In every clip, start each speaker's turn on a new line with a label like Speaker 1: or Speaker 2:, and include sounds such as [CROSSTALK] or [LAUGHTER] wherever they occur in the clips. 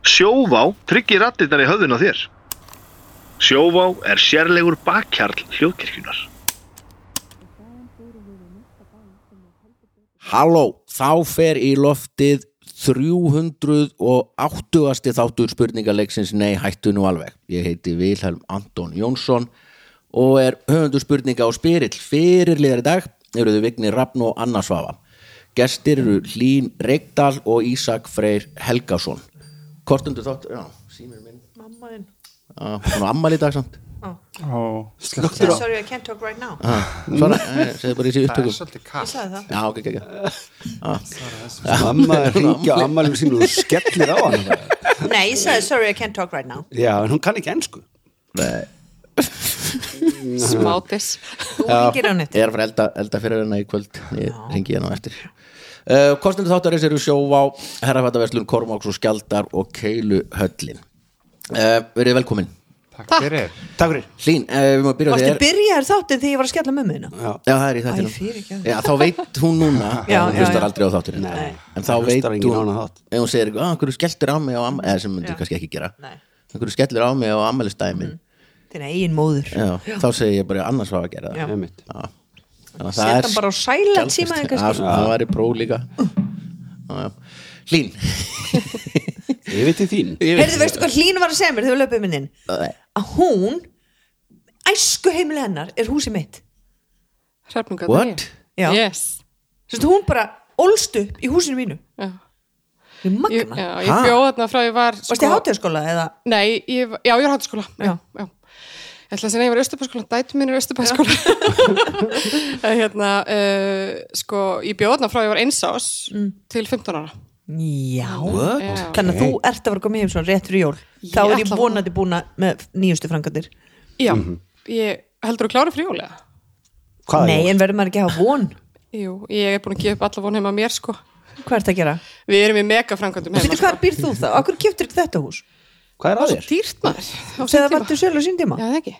Speaker 1: Sjóvá tryggir rattirnar í höfðun á þér. Sjóvá er sérlegur bakkjarl hljóðkirkjunar.
Speaker 2: Halló, þá fer í loftið 380. þáttur spurningaleiksins Nei, hættu nú alveg. Ég heiti Vilhelm Anton Jónsson og er höfundu spurninga á spyrill. Fyrirliðar í dag eru þau Vigni Rappn og Anna Svafa. Gestir eru Hlín Reykdal og Ísak Freyr Helgason. Kortundu þáttur, já, símur minn.
Speaker 3: Mamma þinn
Speaker 2: Já, Hún á ammali í dag samt.
Speaker 4: Ó, slökkt
Speaker 3: yeah, Sorry, I can't talk right now
Speaker 2: Já, Svona, eh, segðu bara í þessi
Speaker 4: Mm. Það er
Speaker 2: upptökum.
Speaker 4: svolítið
Speaker 3: Ég
Speaker 4: kall
Speaker 3: sagði það
Speaker 2: Já, ok, ok, ok.
Speaker 5: Mamma
Speaker 2: [LAUGHS]
Speaker 5: er hringi á ammælum sínum og skellir á hann
Speaker 3: Nei, ég sagði sorry, I can't talk right now
Speaker 5: Já, en hún kann ekki ennsku
Speaker 6: smátis
Speaker 3: Þú ringir á nett
Speaker 2: er að fara að elda, elda fyrir hennar í kvöld ég ringi hérna á eftir uh, kostendur þáttarins eru sjóvá herrafættaverslun, kormáks og skjaldar og keilu höllin uh, verið velkomin
Speaker 4: Takk
Speaker 6: Takk.
Speaker 4: fyrir
Speaker 5: Takk fyrir
Speaker 2: Hlín, uh, við má byrja á
Speaker 3: Varstu
Speaker 2: þér
Speaker 3: byrjaður þáttinn þegar ég var að skella mömmu hérna
Speaker 2: Já, það er í
Speaker 3: Æ, fyrirgefðu.
Speaker 2: þættinum Já, þá veit hún núna
Speaker 3: Já,
Speaker 2: en hún
Speaker 3: já,
Speaker 2: hlustar
Speaker 3: já.
Speaker 2: aldrei á þátturinn
Speaker 5: Nei.
Speaker 2: en þá veit
Speaker 5: Hlustar enginn á
Speaker 2: hún
Speaker 5: hana þátt.
Speaker 2: ef hún segir, að hverju skelltur á mig á ammæli eða sem
Speaker 3: Já.
Speaker 2: myndir kannski ekki gera
Speaker 3: Nei. Mm.
Speaker 2: hverju skelltur á mig á ammælistæði minn
Speaker 3: Þinn eigin móður
Speaker 2: já, þá segir ég bara annars hvað að gera
Speaker 3: Já.
Speaker 2: það
Speaker 5: Einmitt.
Speaker 2: Já. Þannig að það
Speaker 3: Sett
Speaker 2: er
Speaker 3: hann bara á silent síma
Speaker 2: Já,
Speaker 3: þinn kannski
Speaker 2: svona, það væri pró líka
Speaker 6: Mm.
Speaker 2: Já, já. Hlín
Speaker 5: Ég veit í þín
Speaker 3: Heyrðu, veistu hvað Hlín var að segja mér þegar við löpum inn inn? Að hún, æsku heimili hennar er húsi mitt
Speaker 6: hrefningarnir
Speaker 2: What?
Speaker 3: Já.
Speaker 6: yes
Speaker 3: Sérst, hún bara ólst upp í húsinu mínu
Speaker 6: já.
Speaker 3: Við
Speaker 6: Ég,
Speaker 3: magna
Speaker 6: já, sko- ég bjóð þarna frá ég var
Speaker 3: Varstu í hátíðaskóla eða
Speaker 6: Nei, ég, var- já, ég var háttaskóla
Speaker 3: Já.
Speaker 6: já. Já, Ég ætla að segja, nei, ég var austurbæskóla Dætu mín er austurbæskóla [LAUGHS] Hérna, uh, sko Ég bjóðna frá ég var eins ás
Speaker 3: Mm.
Speaker 6: Til 15 ára
Speaker 3: Já
Speaker 6: Já.
Speaker 3: Þannig að þú ert að vera að koma heim svona rétt fyrir jól
Speaker 6: Ég
Speaker 3: Þá er ég
Speaker 6: ætla að-
Speaker 3: vonandi búin að- með nýjustu frangatir
Speaker 6: Já, ég heldur að klára frjólega
Speaker 5: Hvað er
Speaker 3: Nei,
Speaker 5: jól?
Speaker 3: en verður maður ekki að hafa von
Speaker 6: Jú, ég er búin að gefa upp alla von heima mér, sko
Speaker 3: Hvað ert að gera?
Speaker 6: Við erum í mega framkvæmdum
Speaker 3: Veitu
Speaker 6: heima
Speaker 3: hvar býr þú þá? Akkur keftur ekki þetta hús?
Speaker 5: Hvað er að þér?
Speaker 6: Dýrt maður á
Speaker 3: Þegar
Speaker 6: sínum
Speaker 3: það
Speaker 6: tíma.
Speaker 3: vantur sölu sín tíma?
Speaker 6: sko. Já, það ekki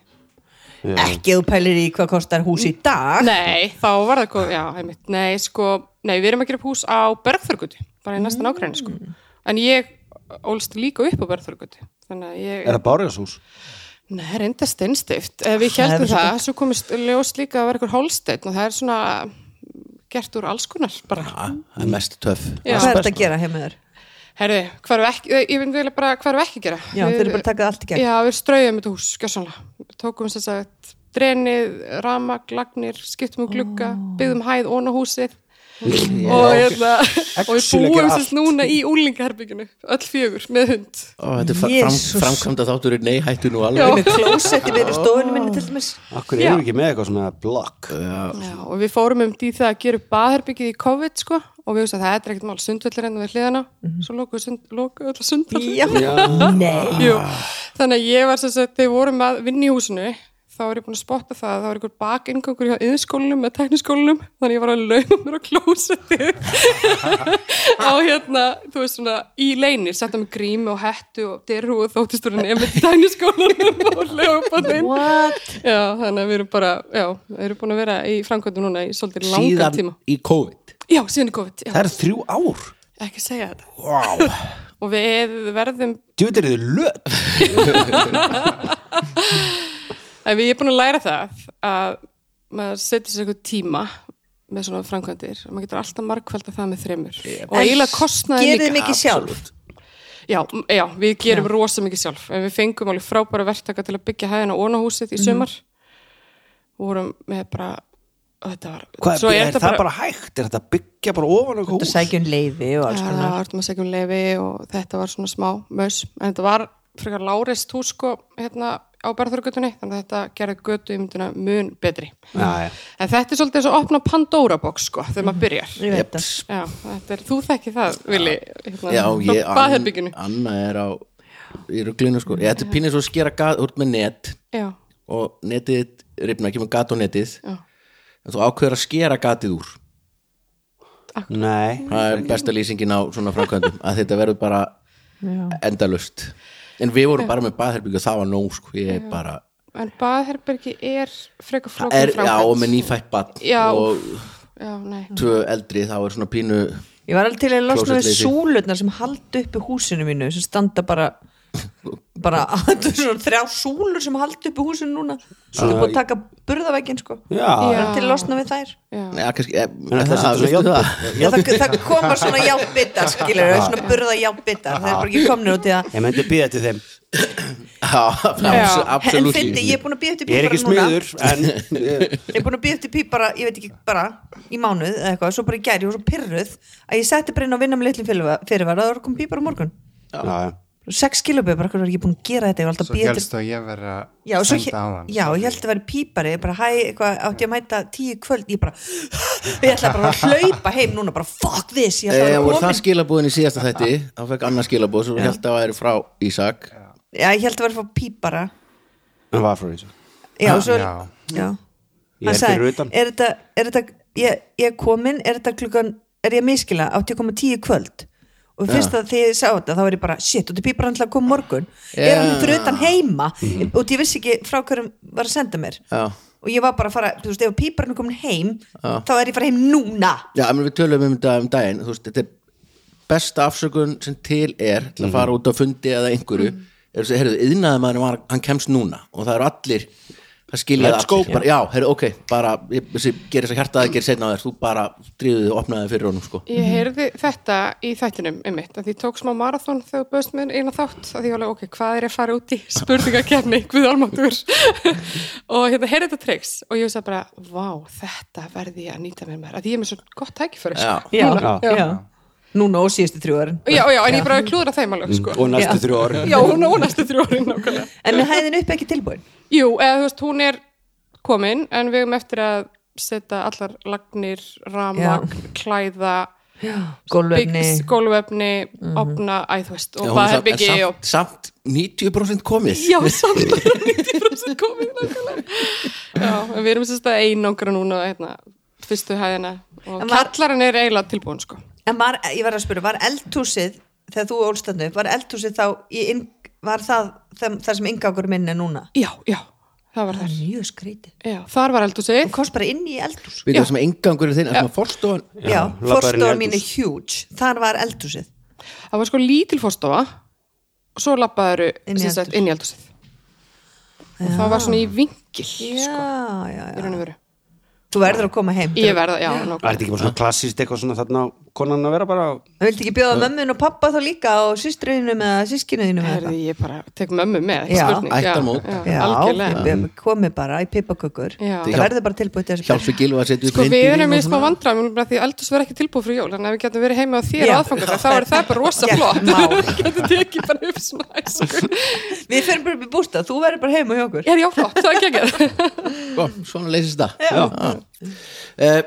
Speaker 3: Ekki að þú pælir í hvað kostar hús í dag
Speaker 6: Nei, þá var það góð, já, einmitt Nei, sko, nei, við erum að gera upp hús á Bergþörgutu, bara í næsta nágræni, sko En ég ólst líka upp á Bergþörgutu Þannig að ég,
Speaker 5: Er það Bárjásús?
Speaker 6: nei, reynda steinstift Eh, Við heldum
Speaker 3: er svo
Speaker 6: það, svo komist ljós líka að vera ykkur holsteinn og það er svona gert úr alls konar bara
Speaker 2: Það er mest töff
Speaker 6: Já.
Speaker 3: Hvað ert að gera heim með þér?
Speaker 6: Herði, hvað er ekki, eh, ég vil bara, hvað er ekki að gera
Speaker 3: Já, þeir eru bara að taka það allt í gegn
Speaker 6: Já, við strauðum þetta hús, skjössanlega Tókum þess að drenið, ramak, lagnir, skiptum og glugga byggðum hæð ón á húsið og, hérna, og við
Speaker 5: Actually
Speaker 6: búum
Speaker 5: gera
Speaker 6: sérst núna í úlingaherbygginu öll fjögur með hund
Speaker 2: Ó, Þetta er fra- fram,
Speaker 3: Jesus.
Speaker 2: framkvæmda þátturinn Nei, hættu nú
Speaker 6: Já.
Speaker 2: alveg
Speaker 3: [LAUGHS] Með klósetti verið í stofunum minni til dæmis
Speaker 5: Akkur erum við ekki með eitthvað svona blokk
Speaker 6: Já, og við fórum um því það að gera upp baðherbyggið í COVID sko, og við hugsaðum að það er ekkert mál sundvellir enn við hliðana, svo lokuðu sund, loku öll sundvellir
Speaker 3: Já, nei
Speaker 6: Jú, þannig að ég var sem sagt, þegar við vorum að vinna í húsinu þá var ég búin að spotta það að það var einhver bakingangur hjá yðskólinum með tekniskólinum þannig að ég var að lauma mér á klósetti á hérna, þú veist svona, í leinir setta mig grími og hettu og derru og þóttist úr henni með tekniskólinum [LAUGHS] og laupa þeim
Speaker 3: What?
Speaker 6: Já, þannig að við erum bara, já, við erum búin að vera í framkvæmdu núna í svolítið langan
Speaker 2: Síðan
Speaker 6: tíma
Speaker 2: í COVID
Speaker 6: Já, síðan í COVID, já,
Speaker 5: Það er þrjú ár
Speaker 6: ekki segja þetta
Speaker 5: Vá
Speaker 6: [LAUGHS] og við verðum
Speaker 5: Djúvitt er þið löp
Speaker 6: Ef ég er búin að læra það að maður setur sér eitthvað tíma með svona framkvæmdir og maður getur alltaf margkvælda það með þreymur og eiginlega kostnaði
Speaker 3: Gerið
Speaker 6: líka
Speaker 3: þið mikið sjálf
Speaker 6: já, m- já, við gerum rosa mikið sjálf en við fengum alveg frábæra verktaka til að byggja hæðina ónahúsið í sömar og vorum með bara þetta var,
Speaker 5: Hvað, er, er
Speaker 6: þetta
Speaker 5: það bara, hægt? Er þetta að byggja bara ofan okkur
Speaker 3: Þú
Speaker 5: hús?
Speaker 3: sækjum um leiði og alls
Speaker 6: Já,
Speaker 3: konar
Speaker 6: það vartum að segja um lefi og þetta var svona smá mös, en þetta var frekar lárest hús sko hérna á Berðurgötunni, þannig að þetta gerði götu myndina mun betri.
Speaker 5: Já, já.
Speaker 6: En þetta er svolítið eins og að opna Pandora box sko, þegar maður byrjar.
Speaker 3: Ég veit það
Speaker 6: Já, þetta er, þú þekki það, Vili, hérna,
Speaker 2: Já, ég,
Speaker 6: frá baðherbygginu.
Speaker 2: Anna er á í ruglinu sko Ég, Þetta er pínir svo að skera gat út með net
Speaker 6: Já,
Speaker 2: og netið ripna, kemur gat á netið
Speaker 6: já,
Speaker 2: en þú ákveður að skera gatið úr
Speaker 5: Nei
Speaker 2: Það er besta lýsingin á svona framkvæmdum að þetta verður bara endalust En við vorum bara með baðherbyggju og það var nóg sko Ég er bara
Speaker 6: en baðherbergi er frekar
Speaker 2: Það
Speaker 6: flókin
Speaker 2: er, Já, og með nýfætt bann
Speaker 6: Já.
Speaker 2: og
Speaker 6: Já, nei.
Speaker 2: tvö eldri þá er svona pínu
Speaker 3: Ég var alveg til að losna við
Speaker 2: Closetleysi.
Speaker 3: súlurnar sem haldi uppi húsinu mínu sem standa bara bara [LAUGHS] þetta eru svona þrjá súlur sem haldi uppi húsinu núna svo þú er búið að taka burðaveggin sko Ég
Speaker 5: Já,
Speaker 3: var alveg til að losna við þær
Speaker 6: já,
Speaker 2: Já, kannski, eh,
Speaker 5: en ætlaði
Speaker 2: það,
Speaker 5: samt að
Speaker 2: veistu
Speaker 5: hjálpa
Speaker 2: það?
Speaker 3: Já, það, það koma svona játbitar skilur, svona burða játbitar það er bara ekki komnir út í það
Speaker 5: Ég myndi býða til þeim
Speaker 2: Já,
Speaker 6: Já.
Speaker 3: en
Speaker 2: absolutt
Speaker 3: fyndi, ég er búin að býða eftir
Speaker 5: Ég er ekki
Speaker 3: pípara núna
Speaker 5: smiður, en
Speaker 3: [LAUGHS]
Speaker 5: ég-
Speaker 3: ég er búin að býða eftir pípara, ég veit ekki bara í mánuð eða eitthvað, svo bara í gær, ég var svo pyrruð að ég setti bara inn á vinna með litlum fyrirvara fyrirvara, það var að koma pípara á morgun
Speaker 5: Já, já.
Speaker 3: sex kilobið, bara hvernig var ég ekki búin að gera þetta ég var alltaf
Speaker 4: Svo
Speaker 3: að býða
Speaker 4: helst
Speaker 3: eftir
Speaker 4: að ég verið
Speaker 3: já,
Speaker 4: að
Speaker 3: og svo,
Speaker 4: senda á hann
Speaker 3: já, ég held að vera pípari bara hæ, eitthvað, átti ég að mæta tíu í kvöld ég bara, [LAUGHS] ég ætla bara að hlaupa heim núna, bara fuck this ég ætla
Speaker 2: Eh,
Speaker 3: að
Speaker 2: voru
Speaker 3: vera
Speaker 2: það
Speaker 3: komin
Speaker 2: skilabúðin í síðasta þætti þá fekk annað skilabúð sem held að væri frá Ísak
Speaker 3: já, ég held að vera að fá pípara
Speaker 5: Hann var frá þessu
Speaker 3: já, og svo,
Speaker 4: Já.
Speaker 3: já.
Speaker 5: Ah, Ég er
Speaker 3: Hann sagði,
Speaker 5: fyrir utan.
Speaker 3: er þetta, er þetta ég, ég er komin, er þetta klukkan er ég að miskila, átti ég að koma tíu í kvöld og fyrst að þegar ég sá þetta þá er ég bara shit, og þetta pípar hann til að koma morgun
Speaker 2: Já. Mm.
Speaker 3: er hann fyrir utan heima og ég vissi ekki frá hverjum var að senda mér
Speaker 2: Já.
Speaker 3: og ég var bara að fara, þú veist, ef píparinn er komin heim þá er ég að fara heim núna
Speaker 2: Já, en við tölum um þetta um daginn þú veist, þetta er besta afsökun sem til er
Speaker 6: Mhm.
Speaker 2: til að fara út á fundi eða einhverju mm. er þess að, heyrðu, yðnaði maður var, hann kemst núna og það eru allir það skilja
Speaker 5: Let's go.
Speaker 2: allir, bara, já, heyrðu, ok bara, ég, þessi, gerir þess að hjartaði, gerir seinna á þér þú bara dríðu þið og opnaði þig fyrir honum sko.
Speaker 6: Ég heyrði þetta í þættinum einmitt, að því tók smá marathón þegar þú bauðst mér eina þátt, að því ég var alveg, ok, hvað er ég að fara út í spurningakefni, [LAUGHS] hvað almáttur [LAUGHS] og hérna, heyrði þetta triks og ég veist að bara, vá, þetta verði ég að nýta mér mér, að því ég er með svo gott tækifæri sko.
Speaker 2: Já.
Speaker 6: Núna, já. Já.
Speaker 3: núna og síðustu þrjú árin
Speaker 6: já, já, en ég bara klúðra þeim alveg, sko
Speaker 5: Og næstu
Speaker 3: Já.
Speaker 5: þrjú orð
Speaker 6: Já, hún á næstu þrjú árin nákvæmlega
Speaker 3: en er hæðin upp ekki tilbúin
Speaker 6: Jú, eða þú veist, hún er komin en við erum eftir að setja allar lagnir, ramagn, klæða
Speaker 3: gólvefni
Speaker 6: byggs, gólvefni, opna æ, þú veist, og
Speaker 2: Já, hún er samt-
Speaker 6: baðherbyggi
Speaker 2: en
Speaker 6: og
Speaker 2: samt, samt 90% komið
Speaker 6: Já, samt bara 90% komið nákvæmlega Já, en við erum sérst að einangra núna hérna, fyrstu hæðina og
Speaker 3: En var-
Speaker 6: kallarinn er eiginlega tilbúin sko
Speaker 3: en var, ég var að spyrja, var eldhúsið þegar þú ólst þarna upp, var eldhúsið þá í inn, var það þar, þar sem yngangur minn er núna
Speaker 6: Já, já, það var þar
Speaker 3: mjög skrítið,
Speaker 6: Já, þar var
Speaker 3: þú
Speaker 6: eldhúsið
Speaker 3: komst bara inn í eldhús
Speaker 2: við það sem engangur er þinn, það sem að forstofan
Speaker 3: já, já
Speaker 5: labbaðir inn í
Speaker 3: fórstofan
Speaker 5: eldhús.
Speaker 3: mín er huge þar var eldhúsið
Speaker 6: Það var sko lítil fórstofa og svo lappaður
Speaker 3: Inn í eldhús.
Speaker 6: inn í eldhúsið og það var svona í vingil
Speaker 3: já,
Speaker 6: sko,
Speaker 3: já,
Speaker 6: í
Speaker 3: já
Speaker 6: raun og veru
Speaker 3: þú verður að koma heim
Speaker 6: Ég verða, já,
Speaker 5: Það er
Speaker 6: nákvæmlega
Speaker 5: þetta ekki bara svona klassist eitthvað svona þarna á konan að vera bara
Speaker 3: Það vildi ekki bjóða mömmun og pappa þá líka og systriðinum eða sískinuðinum eða
Speaker 6: Herði, ég bara tek mömmu með, ekki
Speaker 3: Já.
Speaker 6: spurning
Speaker 2: Ættarmót.
Speaker 6: já, já,
Speaker 3: Já,
Speaker 6: algjörlega
Speaker 3: við komið bara í pipakökur
Speaker 6: Já.
Speaker 3: Það verður bara tilbúið til þessu
Speaker 2: hjálpi gilva að setja upp
Speaker 6: Sko
Speaker 2: mynd í
Speaker 6: við erum
Speaker 2: því
Speaker 6: í
Speaker 2: og
Speaker 6: smá
Speaker 2: svona.
Speaker 6: vandræðum núna bara því eldus verður ekki tilbúið fyrir jól þannig að við getum verið heima á þér
Speaker 3: Já.
Speaker 6: og aðfangar þá er það bara rosa
Speaker 3: Gert mál.
Speaker 6: flott [LAUGHS] við getum tekið bara upp svona æsku
Speaker 3: Við fyrir bara upp í bústa, þú verður bara heim og hjá okkur
Speaker 6: Já, já, flott, það er geggjað [LAUGHS]
Speaker 2: Sko, svona leysist það Já. Eh,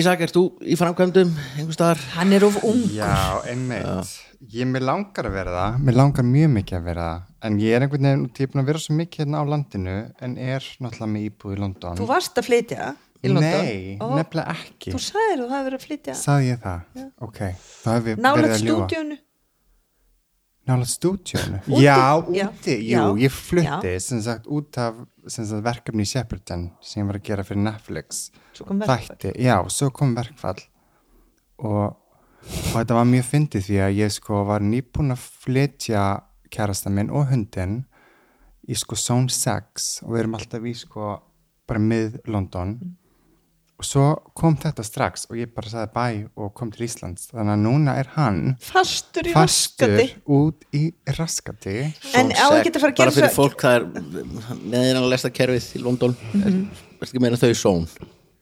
Speaker 2: Ísak, ert þú í framkvæmdum einhvers staðar?
Speaker 3: Hann er of ung
Speaker 4: Já, einmitt. Ég, mér langar að vera það, mér langar mjög mikið að vera það, en ég er einhvern veginn, ég er búin að vera svo mikið hérna á landinu, en er náttúrulega með íbúð í London.
Speaker 3: Þú varst að flytja í London
Speaker 4: Nei,
Speaker 3: Ó,
Speaker 4: nefnilega ekki.
Speaker 3: Þú sagðir þú hafði verið að flytja
Speaker 4: Sagði ég það? Ok, það hef ég verið
Speaker 3: Nálega
Speaker 4: að ljúa.
Speaker 3: stúdíunu
Speaker 4: Nála stúdíónu?
Speaker 3: Úti?
Speaker 4: Já,
Speaker 3: Já.
Speaker 4: úti,
Speaker 3: Já.
Speaker 4: jú, ég flutti sem sagt út af sem sagt, verkefni í Shepperton sem ég var að gera fyrir Netflix
Speaker 3: Svo kom verkfall.
Speaker 4: Þætti, já, svo kom verkfall og, og þetta var mjög fyndið því að ég sko var nýbúin að flytja kærasta minn og hundinn í sko Zone 6 og við erum alltaf í sko bara mið London
Speaker 3: Mm.
Speaker 4: og svo kom þetta strax og ég bara sagði bæ og kom til Íslands þannig að núna er hann
Speaker 3: Fastur í
Speaker 4: fastur
Speaker 3: raskati
Speaker 4: út í raskati
Speaker 3: En á ekki að fara að
Speaker 2: bara
Speaker 3: gera
Speaker 2: fyrir
Speaker 3: svo
Speaker 2: fólk það er meðinanlega lesta kerfið í London
Speaker 3: Mhm.
Speaker 2: mm -hmm. er ekki meina þau són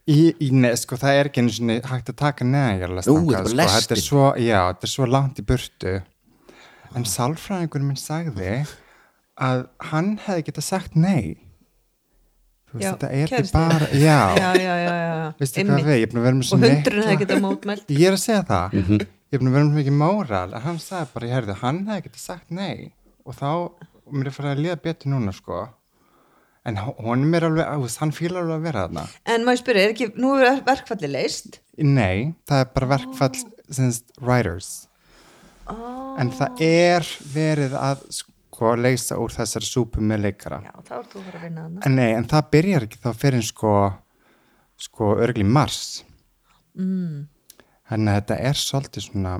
Speaker 4: í, í ne, sko, það er ekki einu sinni hægt að taka neðan
Speaker 2: Ú,
Speaker 4: sko.
Speaker 2: þetta er bara
Speaker 4: þetta,
Speaker 2: lestin.
Speaker 4: er svo, já, þetta er svo langt í burtu en sálfræðingur minn sagði að hann hefði geta sagt nei þú veist
Speaker 3: Já,
Speaker 4: þetta er ekki
Speaker 3: kærastinn.
Speaker 4: bara já,
Speaker 3: [LAUGHS] Já, já, já, já
Speaker 4: veistu
Speaker 3: Einmitt.
Speaker 4: hvað við, ég er búin að vera með svo
Speaker 3: Og hundurinn hefði
Speaker 4: mikla-
Speaker 3: getað mótmælt
Speaker 4: ég er að segja það ég er búin að vera með mikið móral að hann sagði bara, ég herði, hann hefði getið sagt nei og þá, og mér er farið að liða betur núna sko en h- honum er alveg, þú veist, hann fílar alveg að vera þarna
Speaker 3: En maður spyrir, er ekki, nú er verkfalli leist
Speaker 4: nei, það er bara verkfall sinns writers en
Speaker 3: Oh.
Speaker 4: það er verið að sko leysa úr þessari súpu með leikara
Speaker 3: Já, þá er þú að fara að vinna hana
Speaker 4: en nei, en það byrjar ekki þá fyrir sko sko örgli mars Þannig að þetta er svolítið svona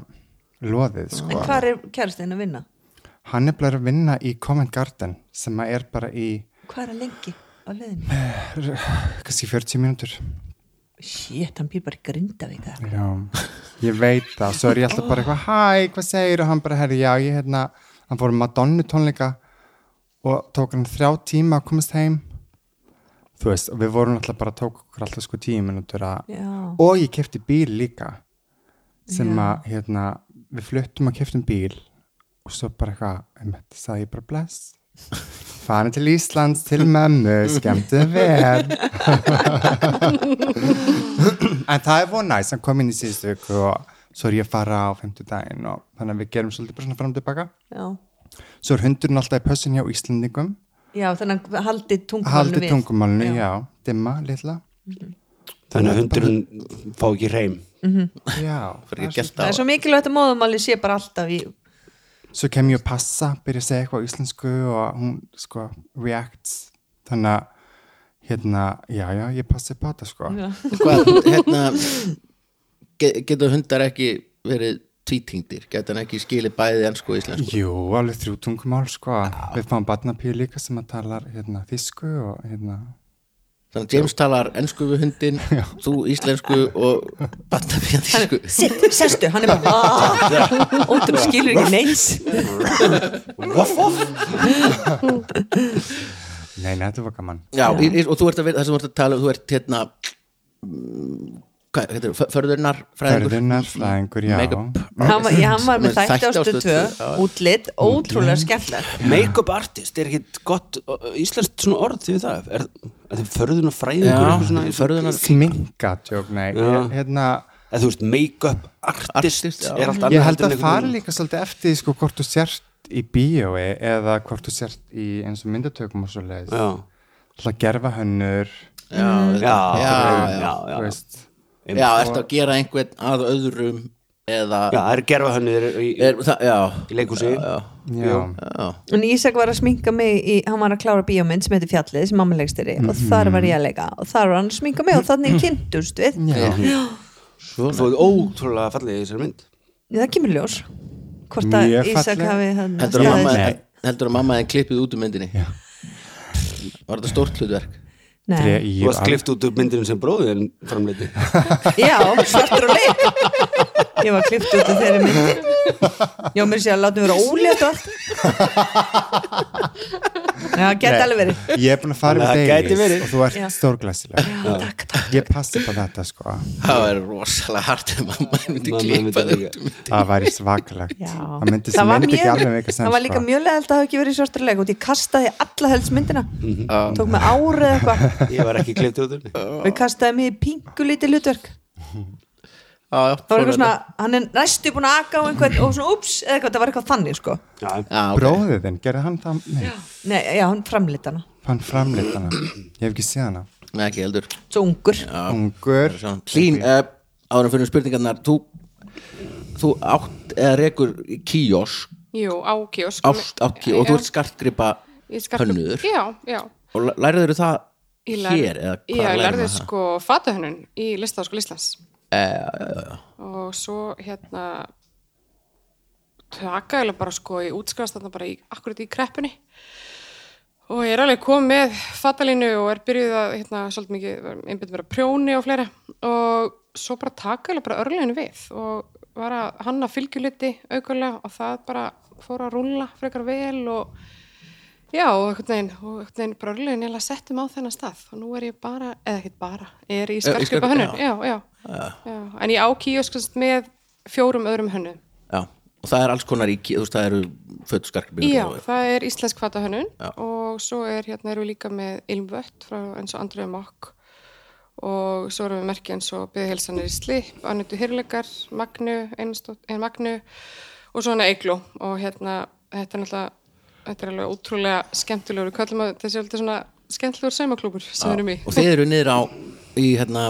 Speaker 4: loðið sko.
Speaker 3: En hvar er kærastinn að vinna?
Speaker 4: Hann er bara að vinna í Covent Garden sem að er bara í
Speaker 3: Hvað er að lengi á leiðinni?
Speaker 4: kannski 40 mínútur.
Speaker 3: Shit, hann býr bara í grindavík eða.
Speaker 4: Já, ég veit það. Svo er ég alltaf bara eitthvað, hæ, hvað segir? Og hann bara, herri, já, ég hérna, hann fór á Madonna tónleika og tók hann þrjá tíma að komast heim. Þú veist, og við vorum alltaf bara, tók okkur alltaf sko tíu mínútur að,
Speaker 3: Já.
Speaker 4: og ég kefti bíl líka sem að, hérna, við fluttum að keftum bíl og svo bara eitthvað, einmitt, sagði ég bara bless. Farin til Íslands, til mömmu, skemmtu vel. En það er von næst, hann kom inn í síðustu viku og svo er ég að fara á fimmtudaginn og þannig að við gerum svolítið bara svona fram og tilbaka.
Speaker 3: Já.
Speaker 4: Svo er hundurinn alltaf í pössin hjá Íslandingum,
Speaker 3: Já, þannig að haldi tungumálinu
Speaker 4: haldi
Speaker 3: við.
Speaker 4: tungumálinu, já, dimma, litla.
Speaker 5: Þannig að hundurinn fá ekki hreim
Speaker 4: Já,
Speaker 2: [LAUGHS] fyrir ekki að gelta á
Speaker 3: Það er svo mikilvægt að móðumáli sé bara alltaf í...
Speaker 4: svo kem ég að passa, byrja að segja eitthvað á íslensku og hún sko reacts, þannig að hérna, já, já, ég passi på þetta sko.
Speaker 2: hvað, hérna ge- geta hundar ekki verið tvítingdir, geta hann ekki skilið bæði ennsku og íslensku
Speaker 4: Jú, alveg þrjú tungumál sko, við fáum barnapíu líka sem að talar hérna þísku og hérna,
Speaker 2: þannig að James talar ennsku við hundin þú íslensku og batnafjandísku
Speaker 3: Sitt, sestu, hann er bara... Ótrú skilur ekki neins.
Speaker 4: nei, nei, þetta var gaman.
Speaker 2: já, í- í- og þú ert að vera, það sem þú ert að tala um, þú ert hérna mm, hvað, hérna, förðurnar fræðingur
Speaker 4: Ferðunarfræðingur, já.
Speaker 2: Makeup.
Speaker 3: Hann var, já, hann var með þætti á stöð 2,
Speaker 2: já.
Speaker 3: útlitt, ótrúlega skemmtilegt.
Speaker 5: Make-up artist er ekkit gott ö, íslenskt svona orð því það er, er það förðun og fræðingur
Speaker 2: já, förðurnar
Speaker 4: Sminka, tjók, nei.
Speaker 5: Já.
Speaker 4: Hérna,
Speaker 5: eða þú veist make-up artist,
Speaker 2: Artist, já.
Speaker 5: er allt annað
Speaker 4: ég held
Speaker 5: heldur en
Speaker 4: að fara
Speaker 5: einhvern
Speaker 4: líka svolítið eftir því, sko hvort þú sért í bíói eða hvort þú sért í eins og myndatökum og svo leiðis.
Speaker 5: veginn.
Speaker 4: Alltaf gerfa hönnur,
Speaker 2: já,
Speaker 5: já, já,
Speaker 2: já,
Speaker 5: já,
Speaker 4: þú
Speaker 5: já.
Speaker 4: veist.
Speaker 2: já, ert að gera einhvern að öðrum eða
Speaker 5: já það er gerfa hönnir í, í,
Speaker 2: er, það, já,
Speaker 5: í leikhúsi
Speaker 4: Já.
Speaker 2: já
Speaker 3: En Ísak var að sminka mig í, hann var að klára bíómynd sem heitir Fjallið sem mamma leikstýri og
Speaker 4: Mhm.
Speaker 3: þar var ég að leika og þar var hann að sminka mig og þannig kynntust við
Speaker 4: Já.
Speaker 5: þú er ótrúlega fallið í þessari mynd
Speaker 3: það kemur í ljós hvort að
Speaker 4: Mjög
Speaker 3: Ísak
Speaker 4: falleg.
Speaker 3: hafi hérna- hann
Speaker 2: heldur að mamma,
Speaker 4: Nei.
Speaker 2: heldur að mamma þeim klippið út um myndinni var þetta stórt hlutverk
Speaker 3: Nei.
Speaker 4: Ég-
Speaker 5: þú varst klift út úr myndinu sem bróðið en framleiti
Speaker 3: já, svartur og leik ég var klift út af þeirri mynd já, mér sé að láta mig vera ólétt og allt já, gett alveg verið
Speaker 4: Ég er búin að fara
Speaker 5: Þannig að
Speaker 4: með
Speaker 5: [LAUGHS] það gæti verið.
Speaker 4: Davies og þú ert
Speaker 3: Já.
Speaker 4: stórglæsileg.
Speaker 3: já, takk, takk
Speaker 4: Ég passi på þetta sko.
Speaker 2: það var rosalega hart ef mamma þeim myndi
Speaker 5: Mamma
Speaker 2: klippa
Speaker 5: myndi
Speaker 2: þau
Speaker 5: líka.
Speaker 2: út um myndinni
Speaker 4: Það væri svakalegt.
Speaker 3: Já.
Speaker 4: Það myndi sem myndi ekki alveg meika sens.
Speaker 3: það var líka
Speaker 4: sko.
Speaker 3: mjög leðalt að hafa ekki verið í svartur og leik og ég kastaði alla helst myndina tók mig árið eitthvað
Speaker 5: ég var ekki klift út úr henni.
Speaker 3: Við kastaði mig í pingu lítið hlutverk
Speaker 2: Já, já,
Speaker 3: Það var
Speaker 2: svona
Speaker 3: eitthvað svona, hann er næstu búin að aka á einhvern og svona, ups, eða eitthvað, það var eitthvað þannig sko
Speaker 5: Já,
Speaker 2: Já, ok.
Speaker 4: Bróðið þinn, gerði hann það? Nei,
Speaker 3: Nei, já, hann framlit hana,
Speaker 4: hann framleitt hana. Ég hef ekki séð hana.
Speaker 2: Nei, ekki heldur
Speaker 3: svo ungur
Speaker 4: Ungur.
Speaker 2: Hlín, uh, árum fyrir spurningarnar þú, þú átt eða rekur kiosk
Speaker 6: Jú, á kiosk
Speaker 2: ást, átt kiosk og þú ert skartgripa
Speaker 6: Ég skal-
Speaker 2: hönnuður
Speaker 6: Já, já
Speaker 2: og læriður það
Speaker 6: Ég lær-
Speaker 2: hér eða
Speaker 6: Já, ég
Speaker 2: hvað
Speaker 6: lærði
Speaker 2: læriður það
Speaker 6: sko fatahönnun í listaháskóla Íslands og svo hérna taka eða bara sko ég útskrifast þarna bara í, akkurat í kreppunni og ég er alveg komið með fatalínu og er byrjuð að hérna svolítið mikið einbytt mér að prjóni og fleira og svo bara taka eða bara örleginu við og var að hanna fylgjuliti aukulega og það bara fór að rúlla frekar vel og Já, og einhvern veginn, og einhvern veginn bara örlögin eða settum á þennan stað og nú er ég bara, eða ekkert bara, ég er í
Speaker 2: í
Speaker 6: skarkripa
Speaker 2: skartgripa,
Speaker 6: hönnun, já, já, já. En ég á kíoskast með fjórum öðrum hönnum.
Speaker 2: Já, og það er alls konar í ki- þú veist, það eru fött skartgripa
Speaker 6: Já, það er íslensk fata hönnun og svo er hérna eru við líka með Ilmvött frá eins og Andrið Mokk og svo erum við merki eins og Byðhelsanir í Slip, Annutu Hirleikar, Magnu, Einastótt, Ein Magnu og svo hana Eigló og hérna þetta er náttúrulega, þetta er alveg ótrúlega skemmtilegur, við kallum að þessi er alltaf svona skemmtilegur saumaklúpur sem við erum í.
Speaker 2: og þið eru niður á í hérna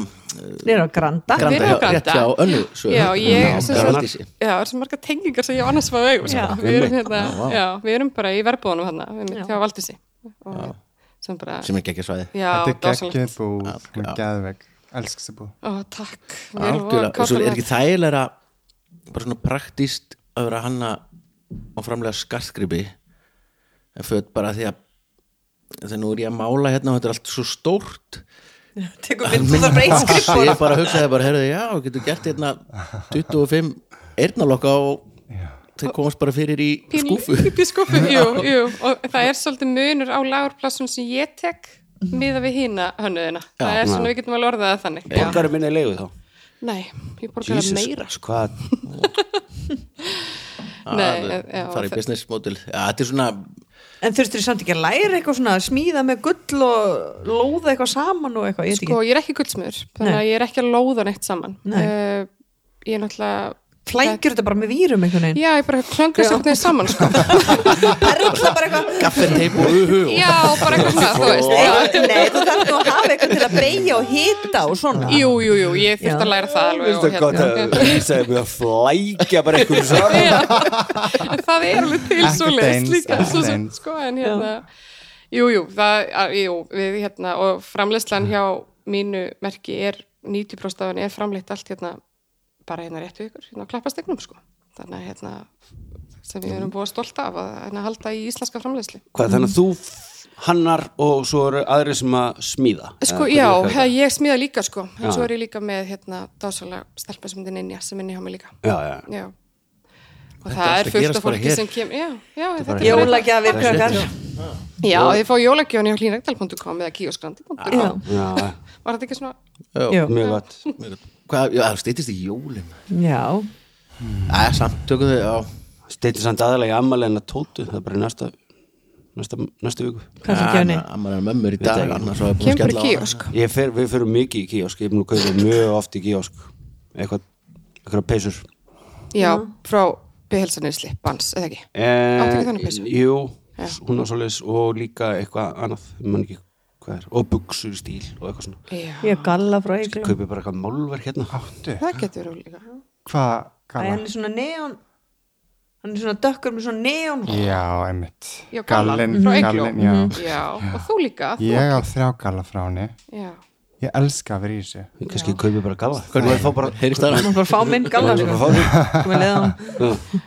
Speaker 3: Nýra á Granda
Speaker 6: Granda.
Speaker 2: hjá, rétt hjá önnu sögu.
Speaker 6: Já, ég-
Speaker 2: Já,
Speaker 6: sem
Speaker 2: já,
Speaker 6: sagt-
Speaker 2: Valdísi.
Speaker 6: Já, það er svo marga tengingar sem ég á annars maður vegum. sko. Við erum, hérna, já, við erum bara í verbúðunum hann, við erum hjá Valdísi. og- Sem bara,
Speaker 2: sem er ekki ekki svæði
Speaker 6: já,
Speaker 4: Þetta er
Speaker 6: dásamlegt.
Speaker 4: geggið búð. Hún er geðvegg. elsk þessi búð
Speaker 6: Ó, takk. Mér var
Speaker 2: Algjörlega, svo
Speaker 6: kaffilega.
Speaker 2: er ekki þægilega bara svona praktist að vera að hanna og framlega skartgripi en föt bara því að þegar nú er ég að mála hérna og þetta er allt svo stórt
Speaker 3: tekur mynd og það breyð
Speaker 2: Svo
Speaker 3: skrifbóð
Speaker 2: ég bara hugsaði bara, herðu, já, getur gert hérna 25 eyrnalokka og þeir komast bara fyrir í skúfu
Speaker 6: [LAUGHS] Pípi skúfu, jú, jú. Og það er svolítið munur á lagurplassun sem ég tek
Speaker 4: Mhm.
Speaker 6: miða við hína hönnuðina. það er svona, við getum alveg orðað það þannig. Já.
Speaker 5: Borgarum minni í leigu þá
Speaker 6: Nei, ég borgar það
Speaker 5: Jesus,
Speaker 6: meira.
Speaker 5: hvað
Speaker 6: Nei,
Speaker 2: að
Speaker 6: já,
Speaker 2: fara Ah, í
Speaker 6: það-
Speaker 2: business model Já, þetta er svona,
Speaker 3: en þurftur samt ekki að læra eitthvað svona að smíða með gull og lóða eitthvað saman og eitthvað, ég veit
Speaker 6: Sko,
Speaker 3: ekki
Speaker 6: ég er ekki guldsmiður, þannig
Speaker 3: Nei.
Speaker 6: að ég er ekki að lóða neitt saman.
Speaker 3: Nei.
Speaker 6: Uh, ég er náttúrulega...
Speaker 3: flængjur þetta bara með vírum einhvern veginn
Speaker 6: Já, ég bara klöngra sér hvernig saman, sko.
Speaker 3: perla bara eitthvað
Speaker 2: gaffeteip og uhu og
Speaker 6: Já, bara eitthvað svona, þú veist. Já.
Speaker 3: Nei, nei, þú þarf nú að hafa eitthvað til að breyja og hita og svona
Speaker 6: Jú, jú, jú, ég þurft að
Speaker 3: Já.
Speaker 6: læra það alveg. hérna.
Speaker 5: Veistu hvað það sagði mig að flækja bara einhverju
Speaker 6: [LAUGHS]
Speaker 5: saman
Speaker 6: En það er alveg til
Speaker 4: Ekkert
Speaker 6: svo leiðist
Speaker 4: eins,
Speaker 6: líka
Speaker 4: ekkert
Speaker 6: svo sem,
Speaker 4: eins.
Speaker 6: sko, en hérna jú, jú, það, að- jú, við hérna og framleiðslan hjá mínu merki er 90% af henni er framleitt allt hérna, bara hérna rétt við ykkur hérna á klappastegnum, sko þannig að hérna, sem við erum búið stolt af að hérna, halda í íslenska framleiðsli
Speaker 5: Hvað þannig að þú hannar og svo eru aðri sem að smíða Eða Eh,
Speaker 6: Sko,
Speaker 5: hvernig
Speaker 6: já,
Speaker 5: virkar
Speaker 6: hef,
Speaker 5: þetta?
Speaker 6: ég smíða líka, sko en
Speaker 5: Já.
Speaker 6: svo er ég líka með, hérna, dásalega stelpa sem þetta ninja, sem inni hjá mig líka
Speaker 5: Já, já,
Speaker 6: já, og
Speaker 2: er
Speaker 6: það
Speaker 2: allt
Speaker 6: er
Speaker 2: að
Speaker 6: fullt
Speaker 2: gerast
Speaker 6: af
Speaker 2: bara
Speaker 6: fólki
Speaker 2: hér.
Speaker 6: sem kemur já, já, þetta er bara-
Speaker 3: Jólagjafir krakkar
Speaker 6: Já, þið fá jólagjóni á hlínregdal.com eða kioskandi.com
Speaker 3: Já,
Speaker 5: já,
Speaker 6: Var þetta ekki svona
Speaker 3: já,
Speaker 5: mjög gott
Speaker 2: Hvað, já, það stýttist í jólum
Speaker 3: já
Speaker 2: Æ, samt tökum þau, já
Speaker 5: Steytir samt aðalega í ammali en að tótu það er bara í næsta, næsta, næsta viku
Speaker 3: hvað sem gjöfni
Speaker 2: Ammar er mömmur í dag,
Speaker 5: ekki.
Speaker 2: annars var ég búin að
Speaker 6: Kemur í
Speaker 2: skella á hana.
Speaker 6: kiosk
Speaker 5: Ég fer, við fyrir mikið í kiosk, ég er búin að kaupa mjög oft í kiosk eitthvað, eitthvað peysur
Speaker 6: Já, frá behelsanisli, bans, eða ekki Áttu ekki þannig peysu?
Speaker 5: Jú, hún á svoleiðis og líka eitthvað annað, ég man ekki hvað er, og buksur í stíl og eitthvað svona
Speaker 6: Já,
Speaker 3: ég er galla frá Eikli
Speaker 5: kaupi bara eitthvað málverk hérna
Speaker 4: áttu,
Speaker 6: það getur verið líka
Speaker 4: hvað
Speaker 3: Æ,
Speaker 4: gala?
Speaker 3: hann er svona neon hann er svona dökkur með svona neon
Speaker 4: já, einmitt
Speaker 6: Já, gallan, frá Eygló. Mhm.
Speaker 4: gallin, já
Speaker 6: Já, og þú líka þú-
Speaker 4: ég á þrjá galla frá henni
Speaker 6: Já,
Speaker 4: ég elska að vera í þessu
Speaker 5: Ég kannski kaupi bara gala Hvernig fá bara
Speaker 2: Heyrist það?
Speaker 3: hann var að fá minn galla
Speaker 5: Ég
Speaker 3: sko.
Speaker 5: er bara að fá
Speaker 3: Kom að leiða hann.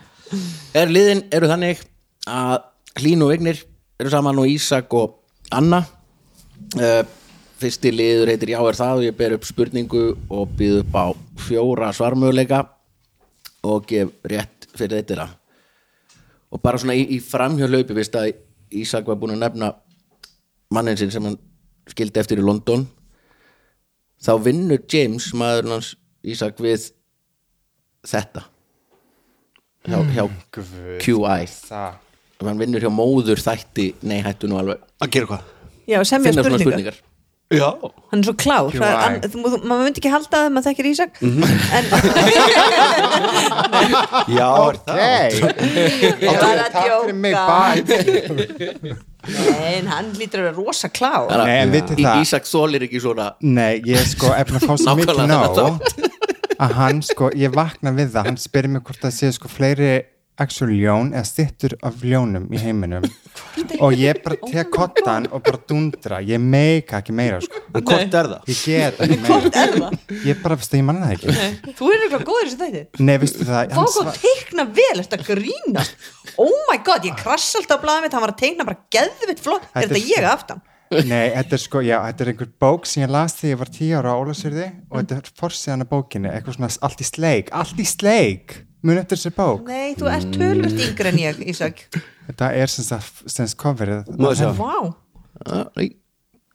Speaker 2: er liðin eru þannig að Hlín og Vignir eru saman og Ísak og Anna uh, fyrsti liður heitir Já er það og ég ber upp spurningu og býð upp á fjóra svarmöguleika og gef rétt fyrir þetta og bara svona í, í framhjálaupi veist að Ísak var búin að nefna mannin sinn sem hann skildi eftir í London þá vinnur James maður hans Ísak við þetta hjá, hjá
Speaker 4: Mm, Guð,
Speaker 2: QI
Speaker 4: það
Speaker 2: ef hann vinnur hjá móður þætti nei hættu nú alveg
Speaker 5: Að gera hvað?
Speaker 3: já, semja
Speaker 2: finna svona
Speaker 3: spurningar.
Speaker 2: spurningar
Speaker 5: Já
Speaker 3: hann er svo klár
Speaker 4: Jú,
Speaker 3: það er,
Speaker 4: æ.
Speaker 3: hann, þú, þú, maður myndi ekki halda að maður þekkir Ísak en
Speaker 5: Já, er það
Speaker 3: bara að
Speaker 4: takk fyrir mig,
Speaker 3: djóka.
Speaker 4: bye
Speaker 3: Nei, en hann lítur að vera rosa klár
Speaker 2: Þannig að
Speaker 4: Nei, en vitið
Speaker 2: Í-
Speaker 4: það-
Speaker 2: Ísak þólir ekki svona
Speaker 4: Nei, ég sko er búin að fá svo mikið
Speaker 2: Nákvæmlega
Speaker 4: nóg að hann sko, ég vakna við það hann spyrir mig hvort það séu sko fleiri actual ljón eða stittur af ljónum í heiminum og ég bara tek kottan og bara dundra ég meika ekki meira sko
Speaker 5: En hvort er það?
Speaker 4: ég get ekki meira ég bara, veistu, ég manna það ekki
Speaker 3: þú er eitthvað góður í þessu þætti
Speaker 4: Nei, veistu það,
Speaker 3: Vá
Speaker 4: hann
Speaker 3: hvað teikna vel, þetta grína Oh my god, ég krass alltaf á blaðið mitt Hann var að teikna bara geðvitt flott Er
Speaker 4: Þetta er
Speaker 3: þetta ég að aftan?
Speaker 4: Nei, þetta er sko, já, þetta er einhver bók sem ég las þegar ég var 10 ára á Ólasyrði
Speaker 3: Mm.
Speaker 4: og þetta er forsiðan af bókinni, eitthvað svona allt í sleik, allt í sleik mun eftir þessi bók,
Speaker 3: Nei, þú
Speaker 4: Mm.
Speaker 3: ert tölvöld yngri en ég, Ísak
Speaker 4: þetta er sem sagt, sem sagt coverið
Speaker 5: Má sjá
Speaker 3: Vá,
Speaker 2: Já, nei,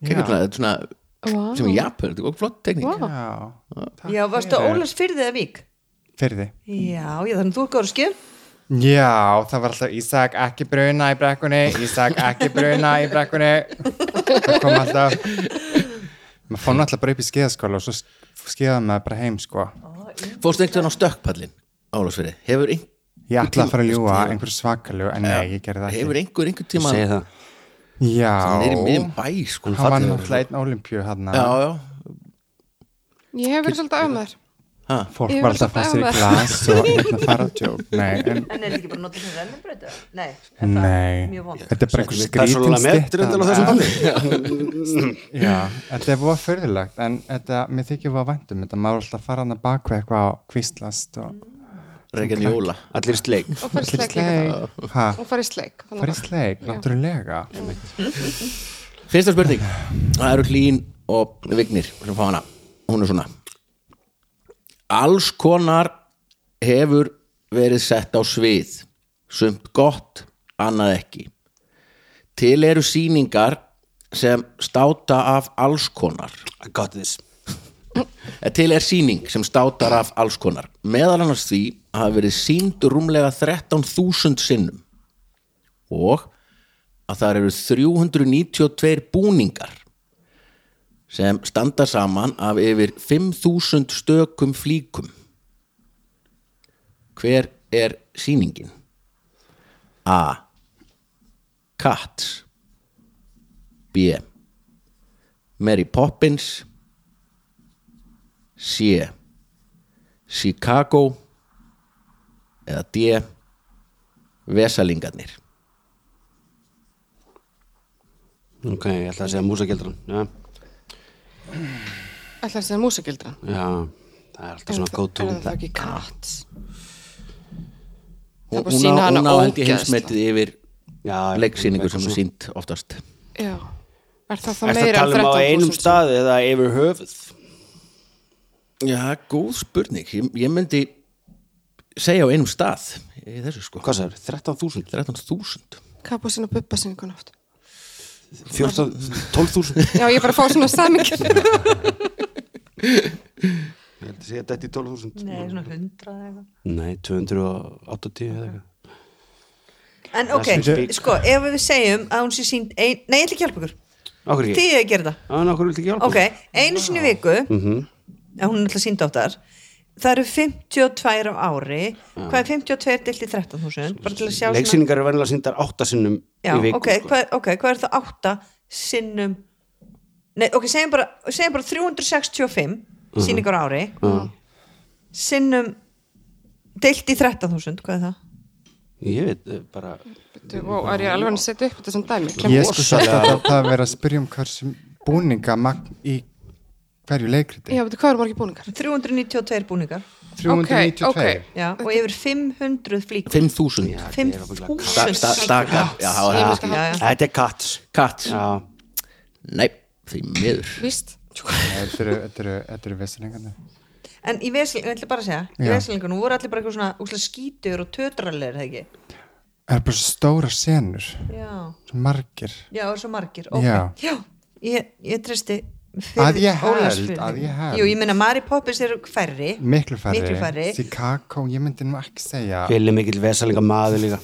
Speaker 2: kekkur það, þetta er svona sem ég apur, þetta er góð flott tekník
Speaker 4: Já,
Speaker 3: já, varstu Ólas fyrir þið að vík?
Speaker 4: fyrir því
Speaker 3: Já, já, þannig að þú er góður skil
Speaker 4: Já, það var alltaf Ísak ekki bruna í brekkunni Ísak ekki bruna í brekkunni Það kom alltaf maður fór náttúrulega bara upp í skeiðaskóla og svo skeiðaði maður bara heim sko
Speaker 2: Fórstu einhvern veginn á stökkpallin Álasveri, hefur, ein,
Speaker 4: Ég ætlaði að fara að ljúa einhver svakaljú en nei, ég gerði það
Speaker 2: hefur einhver einhver tíma
Speaker 5: Segði það
Speaker 2: er
Speaker 4: ekki
Speaker 2: í miðjum
Speaker 4: Já,
Speaker 2: bæ sko
Speaker 4: hann var náttúrulega einn ólimpíu hann
Speaker 2: Já, já,
Speaker 6: ég hef verið svolítið af maður
Speaker 2: Ha?
Speaker 4: fólk
Speaker 6: Ég
Speaker 4: var
Speaker 6: vil
Speaker 4: alltaf að fá sér í
Speaker 6: dæma.
Speaker 4: glas og hérna fara tjók nei, en,
Speaker 3: En er þetta ekki bara notið sem rennubrauta? Nei, er það
Speaker 4: nei,
Speaker 3: mjög vond
Speaker 4: þetta er bara einhver skrítin
Speaker 5: persónulega
Speaker 4: stytta
Speaker 5: metri undir á þessum
Speaker 4: en-
Speaker 5: balli
Speaker 4: Já, þetta er búið fyrirlegt en þetta, mér þykir búið að væntum þetta maður er alltaf að fara hann að bakveg eitthvað og kvistlast og
Speaker 2: Regan Jóla
Speaker 5: [LAUGHS] allir í sleik
Speaker 6: og farið
Speaker 4: Fyrir
Speaker 6: sleik líka
Speaker 4: sleik Hæ,
Speaker 6: og farið sleik þannig
Speaker 4: farið
Speaker 6: að-
Speaker 4: sleik, náttúrulega
Speaker 2: Fyrsta spurning Það eru Hlín og Vignir sem fá hana Hún er svona Alls konar hefur verið sett á svið sumt gott, annað ekki Til eru sýningar sem státa af alls konar
Speaker 5: I got this
Speaker 2: Eh, Til er sýning sem státar af alls konar meðal annars því að hafa verið sýnd rúmlega 13.000 sinnum og að þar eru 392 búningar sem standa saman af yfir 5.000 stökum flíkum Hver er sýningin? A. Cats B. Mary Poppins C Chicago eða D Vesalingarnir
Speaker 5: ok, ég ætla að segja músagildran já,
Speaker 6: ætlaði að segja músagildran
Speaker 5: já, það er alltaf svona go to
Speaker 6: er það ekki katt
Speaker 2: hún,
Speaker 6: Það er bara að
Speaker 2: hún
Speaker 6: sýna
Speaker 2: á,
Speaker 6: hana
Speaker 2: hún á held ég
Speaker 6: ógeðslega.
Speaker 2: heimsmetið yfir
Speaker 5: já,
Speaker 2: leiksýningu
Speaker 5: eitthvað
Speaker 2: sem er
Speaker 5: svona.
Speaker 2: sínt oftast
Speaker 6: já er það þá
Speaker 5: Ertu að
Speaker 6: meira en
Speaker 5: tala um á
Speaker 6: 13.000?
Speaker 5: einum staði eða yfir höfuð
Speaker 2: Já, góð spurning ég, ég myndi segja á einum stað í þessu sko
Speaker 5: hvað sagður, 13.000
Speaker 2: 13.000
Speaker 6: Kapusinn og bubba sinningun oft
Speaker 5: 14 12.000
Speaker 6: Já, ég er bara að fá svona saming
Speaker 5: ég ætla að segja þetta í 12.000
Speaker 3: Nei, svona hundrað eða eitthvað
Speaker 5: nei, 280 eða eitthvað
Speaker 3: En ok,
Speaker 5: Bíddu.
Speaker 3: sko, ef við segjum að hún sé sínd ein... Nei, ég ætla ekki að hjálpa ykkur
Speaker 5: okkur
Speaker 3: Þið
Speaker 5: ekki,
Speaker 3: er að gera það
Speaker 5: hann okkur vildi ekki hjálpa
Speaker 3: Ok, einu sinni í viku að hún er alltaf sínd áttar Það eru 52 á ári Hvað er 52 deilt í 13.000? Bara til að sjá
Speaker 5: leiksýningar er verðilega síndar 8 sinnum
Speaker 3: Já,
Speaker 5: í viku
Speaker 3: ok,
Speaker 5: sko.
Speaker 3: hvað, ok, hvað er það átta sinnum Nei, ok, segjum bara, segjum bara 365 sýningar á ári sinnum deilt í 13.000, hvað er það?
Speaker 5: ég veit, eh, bara
Speaker 6: og er ég alveg að setja upp þetta sem dæmi Kem-
Speaker 4: ég sko sagt að þetta að vera að spyrja um hversu búninga magn í hverju leikriti
Speaker 6: Já, veitu, hvað eru margir búningar?
Speaker 3: 392 búningar
Speaker 6: ok,
Speaker 4: 392
Speaker 6: ok.
Speaker 3: já, og yfir 500 flík
Speaker 2: 5.000 Sta-
Speaker 3: 5.000
Speaker 2: sta- stakar Já, það var
Speaker 6: Ég
Speaker 2: það
Speaker 6: miska
Speaker 3: Já,
Speaker 6: það,
Speaker 3: já.
Speaker 5: þetta er katt
Speaker 2: Katt
Speaker 5: já,
Speaker 2: Nei, því miður
Speaker 6: víst
Speaker 4: þetta eru- þetta eru- þetta eru veslingarnir
Speaker 3: en í veslingunum, ég ætla bara að segja í
Speaker 4: Já.
Speaker 3: veslingunum voru allir bara eitthvað svona úslega skítur og tötralegur, það ekki?
Speaker 4: það eru bara svo stóra senur
Speaker 3: Já,
Speaker 4: svo margir
Speaker 3: já, og svo margir ok,
Speaker 4: Já.
Speaker 3: ég, ég treysti fyrir
Speaker 4: Að ég held,
Speaker 3: Ólafsfirði.
Speaker 4: að ég held.
Speaker 3: Jú, ég meina Mary Poppins eru færri
Speaker 4: miklu færri,
Speaker 3: Miklu færri.
Speaker 4: Chicago, ég myndi nú ekki segja
Speaker 5: Vili mikill vesalinga maður líka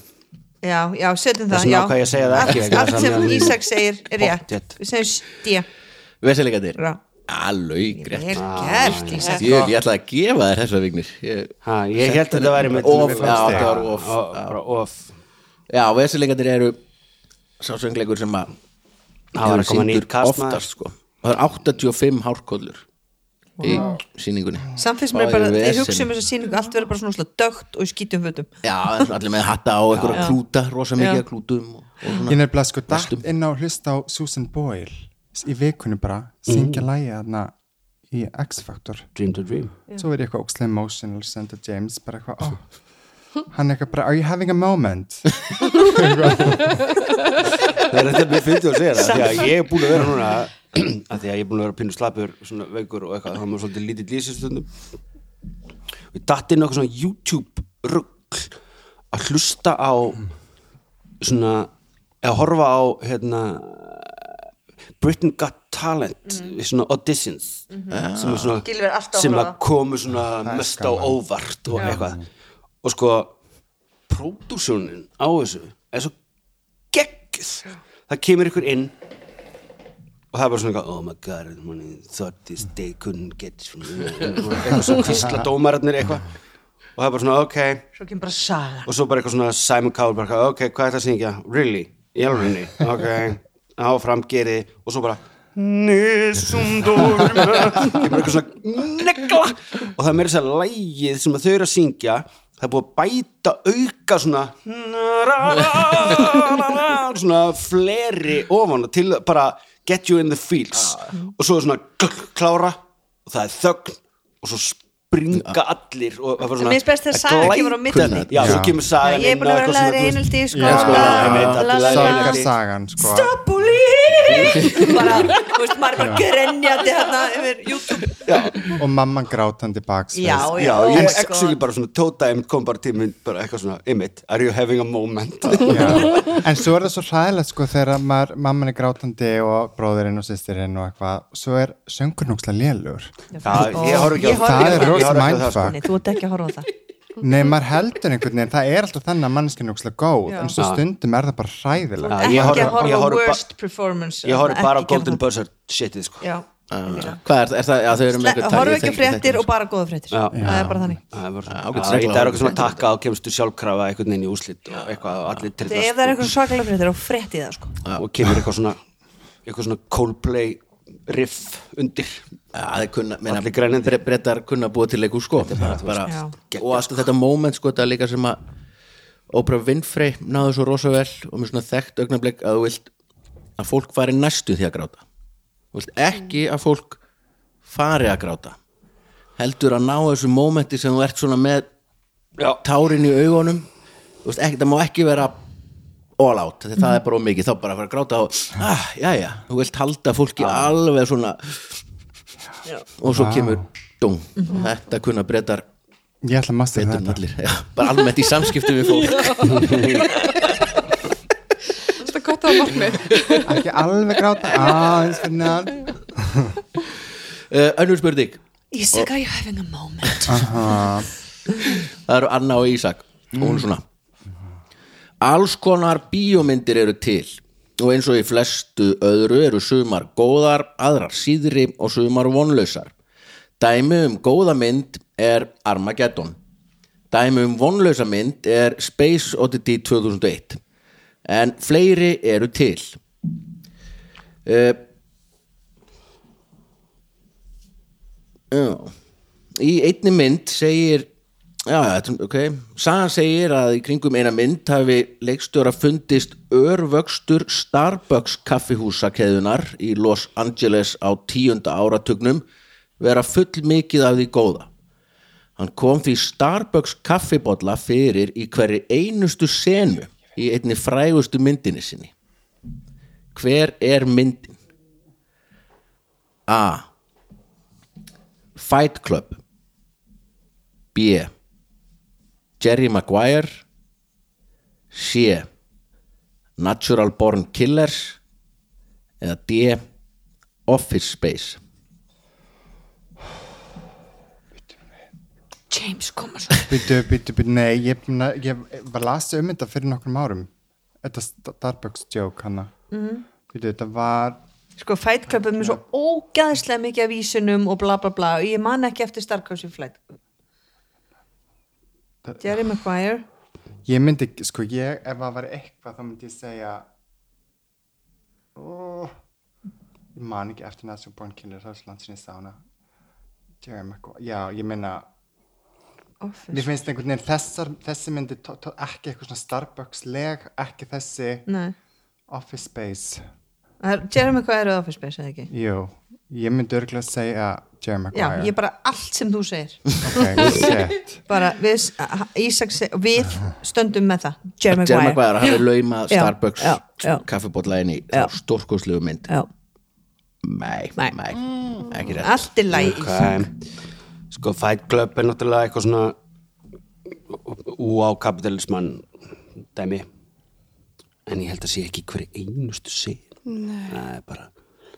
Speaker 3: Já, já, setjum
Speaker 5: Þess
Speaker 3: það
Speaker 5: vegna
Speaker 3: já.
Speaker 5: ákvað ég að segja það ekki,
Speaker 3: Allt,
Speaker 5: vegna
Speaker 3: allt
Speaker 5: þess að
Speaker 3: sem
Speaker 5: mér-
Speaker 3: Ísak segir er rétt
Speaker 5: Pottþétt.
Speaker 3: Við segjum stía
Speaker 2: Vesalingarnir
Speaker 3: Rá.
Speaker 2: Alveg
Speaker 3: Vel
Speaker 2: greitt
Speaker 3: gert, Ísak
Speaker 2: Ég, ég ætla að gefa þér þessa vignir ég,
Speaker 5: ha, ég held að þetta væri með
Speaker 2: Of,
Speaker 5: með-
Speaker 2: já, þetta var of
Speaker 5: Ó, bara of
Speaker 2: Já, veselingarnir eru sá söngleikur sem að
Speaker 5: Það var að koma nýr kast, maður.
Speaker 2: oftast sko. og það er 85 hárkóllur í síningunni
Speaker 3: Samt finnst mér bara,
Speaker 2: Og í
Speaker 3: ég
Speaker 2: vesen.
Speaker 3: hugsa um þess að sýningu allt verður bara svona úrslega dögt og í skítum fötum
Speaker 2: Já, það er svona allir með hatta og einhverja klúta rosa mikið af klútum og, og
Speaker 4: Ég
Speaker 5: Hérna.
Speaker 2: svona
Speaker 4: nefnilega sko dætt inn á hlusta á Susan Boyle s- í vikunni bara, syngja mm. lægi þarna í X-Factor
Speaker 5: dream to dream
Speaker 4: svo er ég eitthvað ókslega emotional senda James bara eitthvað, oh hann er eitthvað bara, are you having a moment?
Speaker 5: það er þetta mér fyndið að segja það því að ég er búin að vera núna [CLEARS THROAT] að því að ég er búin að vera pínu slappur svona veikur og eitthvað, þá er maður svolítið lítið lýsistundum og ég datt inn á eitthvað svona YouTube rugg að hlusta á svona eða horfa á hérna Britain Got Talent mm. svona auditions sem, er
Speaker 3: Mhm. Gylfi
Speaker 5: svona,
Speaker 3: er alltaf að
Speaker 5: sem að
Speaker 3: horfa.
Speaker 5: komu svona mest á óvart og eitthvað og sko pródúsjónin á þessu er svo geggð það kemur ykkur inn og það er bara svona eitthvað, oh my god money, thought this day couldn't get eitthvað svo kvísla dómararnir eitthvað og það er bara svona ok
Speaker 3: Svo kemur bara saga
Speaker 5: og svo bara eitthvað svona Simon Cowell bara eitthvað, ok, hvað er það að syngja, really í alvegni, ok áfram geri og svo bara kemur eitthvað svona negla og það er meira þess að lægið sem að þau eru að syngja það er búið að bæta auka svona svona fleri ofan til að bara get you in the fields og svo er svona kl- klára og það er þögn og svo springa allir og það er
Speaker 3: Mér finnst best þegar saga kemur á milli.
Speaker 5: glæpurnar. já, svo
Speaker 4: Já.
Speaker 5: kemur
Speaker 3: Já,
Speaker 5: sagan
Speaker 3: ég er búin að vera að læra
Speaker 5: inn og eitthvað svona, þú veist. [LAUGHS] Já, sko,
Speaker 3: einhaldi í skóla
Speaker 5: ég veit, allir
Speaker 3: la, la, la.
Speaker 5: læra einelti.
Speaker 4: Sorgarsagan, sko
Speaker 3: Stop bullying [LAUGHS] bara, þú veist, maður er bara grenjandi hérna yfir YouTube
Speaker 4: og mamman grátandi baksveis
Speaker 3: já,
Speaker 5: Já,
Speaker 3: oh
Speaker 5: ég
Speaker 3: my
Speaker 5: er actually
Speaker 3: God.
Speaker 5: bara svona tótaðið kom bara tíminn, bara eitthvað svona, einmitt, are you having a
Speaker 3: [LAUGHS]
Speaker 5: moment?
Speaker 4: Já. en svo er það svo hræðilegt sko þegar maður, mamman er grátandi og bróðurinn og sýstirinn og eitthvað svo er söngurnúkslega lélur
Speaker 5: Já, ég horf ekki á
Speaker 3: Ég horfi ekki
Speaker 4: það er
Speaker 3: á
Speaker 4: rosa
Speaker 5: það. sko.
Speaker 4: mindfuck
Speaker 3: Nei, þú ert ekki að horfa á það
Speaker 4: nei maður heldur einhvern veginn það er alltaf þannig að manneskinn er núkslega góð
Speaker 3: Já.
Speaker 4: en svo
Speaker 5: Já.
Speaker 4: stundum er það bara hræðilegt
Speaker 5: Já, ég horfi-
Speaker 3: ekki að horfa
Speaker 5: ég
Speaker 3: á
Speaker 5: horfi ba-
Speaker 3: worst performance
Speaker 5: Ég horf
Speaker 3: Ekki
Speaker 5: bara á
Speaker 3: gera
Speaker 5: Golden
Speaker 3: það.
Speaker 5: Buzzer shitið, sko.
Speaker 3: já,
Speaker 2: Hvað er, er það? Já, þau eru með einhver tag, ég
Speaker 3: horfa ekki á
Speaker 2: þekki-
Speaker 3: fréttir
Speaker 2: þekki-
Speaker 3: og bara góða fréttir
Speaker 5: Já.
Speaker 3: það er bara þannig
Speaker 5: Það er bara
Speaker 2: Já, ágætis
Speaker 5: svona- Já,
Speaker 2: regla.
Speaker 5: í dag er okkur sem að takka og kemst þú sjálfkrafa einhvern veginn í úslit og eitthvað og allir
Speaker 3: Þegar ef það er
Speaker 5: trillast
Speaker 3: eitthvað svakalega fréttir þá frétti ég það sko
Speaker 5: og- og kemur eitthvað svona, eitthvað svona Coldplay riff undir.
Speaker 2: Já, það er kunna, meina,
Speaker 5: Allir grænindi.
Speaker 2: bre brettar kunna búa til leikur sko bara, bara,
Speaker 3: Já.
Speaker 2: og alltaf þetta moment sko þetta er líka sem að Oprah Winfrey náðu svo rosa vel og með svona þekkt augnablik að þú vilt að fólk fari næstu því að gráta þú vilt ekki að fólk fari að gráta heldur að ná þessu momenti sem þú ert svona með
Speaker 5: Já.
Speaker 2: tárin í augunum þú veist, ekki, það má ekki vera all out, þegar það er bara of mikið þá bara að fara að gráta og, ah, jæja, þú vilt halda fólki alveg svona og svo kemur dung, þetta kunna breytar
Speaker 4: ég ætla að master
Speaker 2: betur en
Speaker 4: þetta
Speaker 2: allir, já, bara almennt í samskiptum við fólk
Speaker 6: Þetta er gott að markmið
Speaker 4: ekki alveg gráta aðeins fyrir neðan
Speaker 2: uh, önnur spurning,
Speaker 3: Ísak, are you having a moment?
Speaker 2: það eru Anna og Ísak og hún er svona alls konar bíómyndir eru til og eins og í flestu öðru eru sumar góðar, aðrar síðri og sumar vonlausar dæmi um góða mynd er Armageddon dæmi um vonlausa mynd er Space Oddity 2001 en fleiri eru til uh, Já. Í einni mynd segir Já, þetta er- ok Sagan segir að í kringum eina mynd hafi leikstjóra fundist örvöxtur Starbucks kaffihúsakeðunar í Los Angeles á tíunda áratugnum vera full mikið af því góða. Hann kom því Starbucks kaffibotla fyrir í hverri einustu senu í einni frægustu myndinni sinni. Hver er myndin? A. Fight Club B Jerry Maguire C Natural Born Killers eða D Office Space
Speaker 3: James, koma svo
Speaker 4: Býtu, býtu, býtu, nei, ég, er búin að- ég var lasið um þetta fyrir nokkrum árum Þetta Starbucks joke hana mm. Býtu, þetta var
Speaker 3: Sko, Fight Club er mér svo ógæðslega mikið af vísunum og bla bla bla og ég man ekki eftir Starcross í flætt Jerry Maguire
Speaker 4: Ég myndi, sko, ég, ef það var eitthvað þá myndi ég segja oh, Ég man ekki eftir næstu born killer Það er svo langt sinni sána Jerry Maguire, já, ég meina
Speaker 3: Office
Speaker 4: Mér finnst einhvern veginn þessar, þessi myndi tó, tó, ekki eitthvað svona Starbucks leg ekki þessi
Speaker 3: Nei,
Speaker 4: Office Space
Speaker 3: það er- Jerry Maguire og Office Space, eða ekki?
Speaker 4: Jú, ég myndi örgulega segja Jerry
Speaker 3: Já,
Speaker 4: Maguire
Speaker 3: ég bara allt sem þú segir
Speaker 4: Ok,
Speaker 3: [LAUGHS]
Speaker 4: shit
Speaker 3: bara við, Ísak, seg- við stöndum með það Jerry
Speaker 2: Jerry
Speaker 3: Maguire
Speaker 2: Maguire hafi lauma
Speaker 3: Já,
Speaker 2: Starbucks
Speaker 3: já, já.
Speaker 2: kaffibólla inn í
Speaker 3: Já.
Speaker 2: stórkurslegu mynd
Speaker 3: Já,
Speaker 2: Nei,
Speaker 3: Nei.
Speaker 2: nei,
Speaker 5: Mm.
Speaker 2: ekki rétt
Speaker 3: allt er læg
Speaker 5: Okay. Sko, Fight Club er náttúrulega eitthvað svona úá kapitalismann dæmi. En ég held að sé ekki hverju einustu sé. Nei. Það er bara...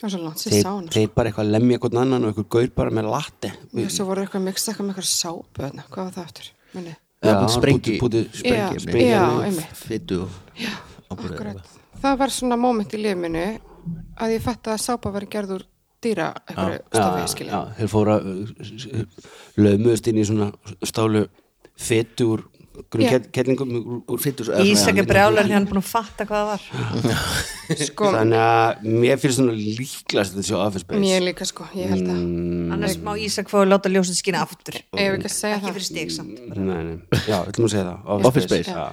Speaker 6: Það er svo langt sér
Speaker 5: þeir,
Speaker 6: sána sko.
Speaker 5: þeir bara eitthvað að lemja eitthvað annan og eitthvað gaur bara með latte
Speaker 6: Já, Svo voru eitthvað að mixa eitthvað með eitthvað sápu þarna. Hvað var það aftur? Minni.
Speaker 2: Það er búin sprengi
Speaker 5: búti,
Speaker 6: Já,
Speaker 5: sprengi,
Speaker 6: já,
Speaker 5: sprengi
Speaker 6: einmitt.
Speaker 2: Fytu
Speaker 6: Akkurat. Það var svona moment í lifinu að ég fætti að sápa var gerð úr dýra eitthvað stofið, skilja.
Speaker 5: þeir fóra lögmuðust inn í svona stálu fetu úr grunn
Speaker 6: Já.
Speaker 5: yeah. kellingum úr, úr
Speaker 2: Fittus-
Speaker 3: Ísak er
Speaker 2: eða svona-
Speaker 3: brjálar því hann er búin að fatta hvað það var
Speaker 6: sko,
Speaker 5: þannig að mér finnst svona líklast þetta sjá Office Space
Speaker 6: mér líka sko, ég held að
Speaker 4: Mm.
Speaker 3: annars má Ísak fóðu láta ljósið skina aftur ekki
Speaker 6: ef ekki að segja það
Speaker 3: fyrir stig samt
Speaker 5: Nei, nei, já, ætlum að segja það
Speaker 2: Office Space.
Speaker 5: Já.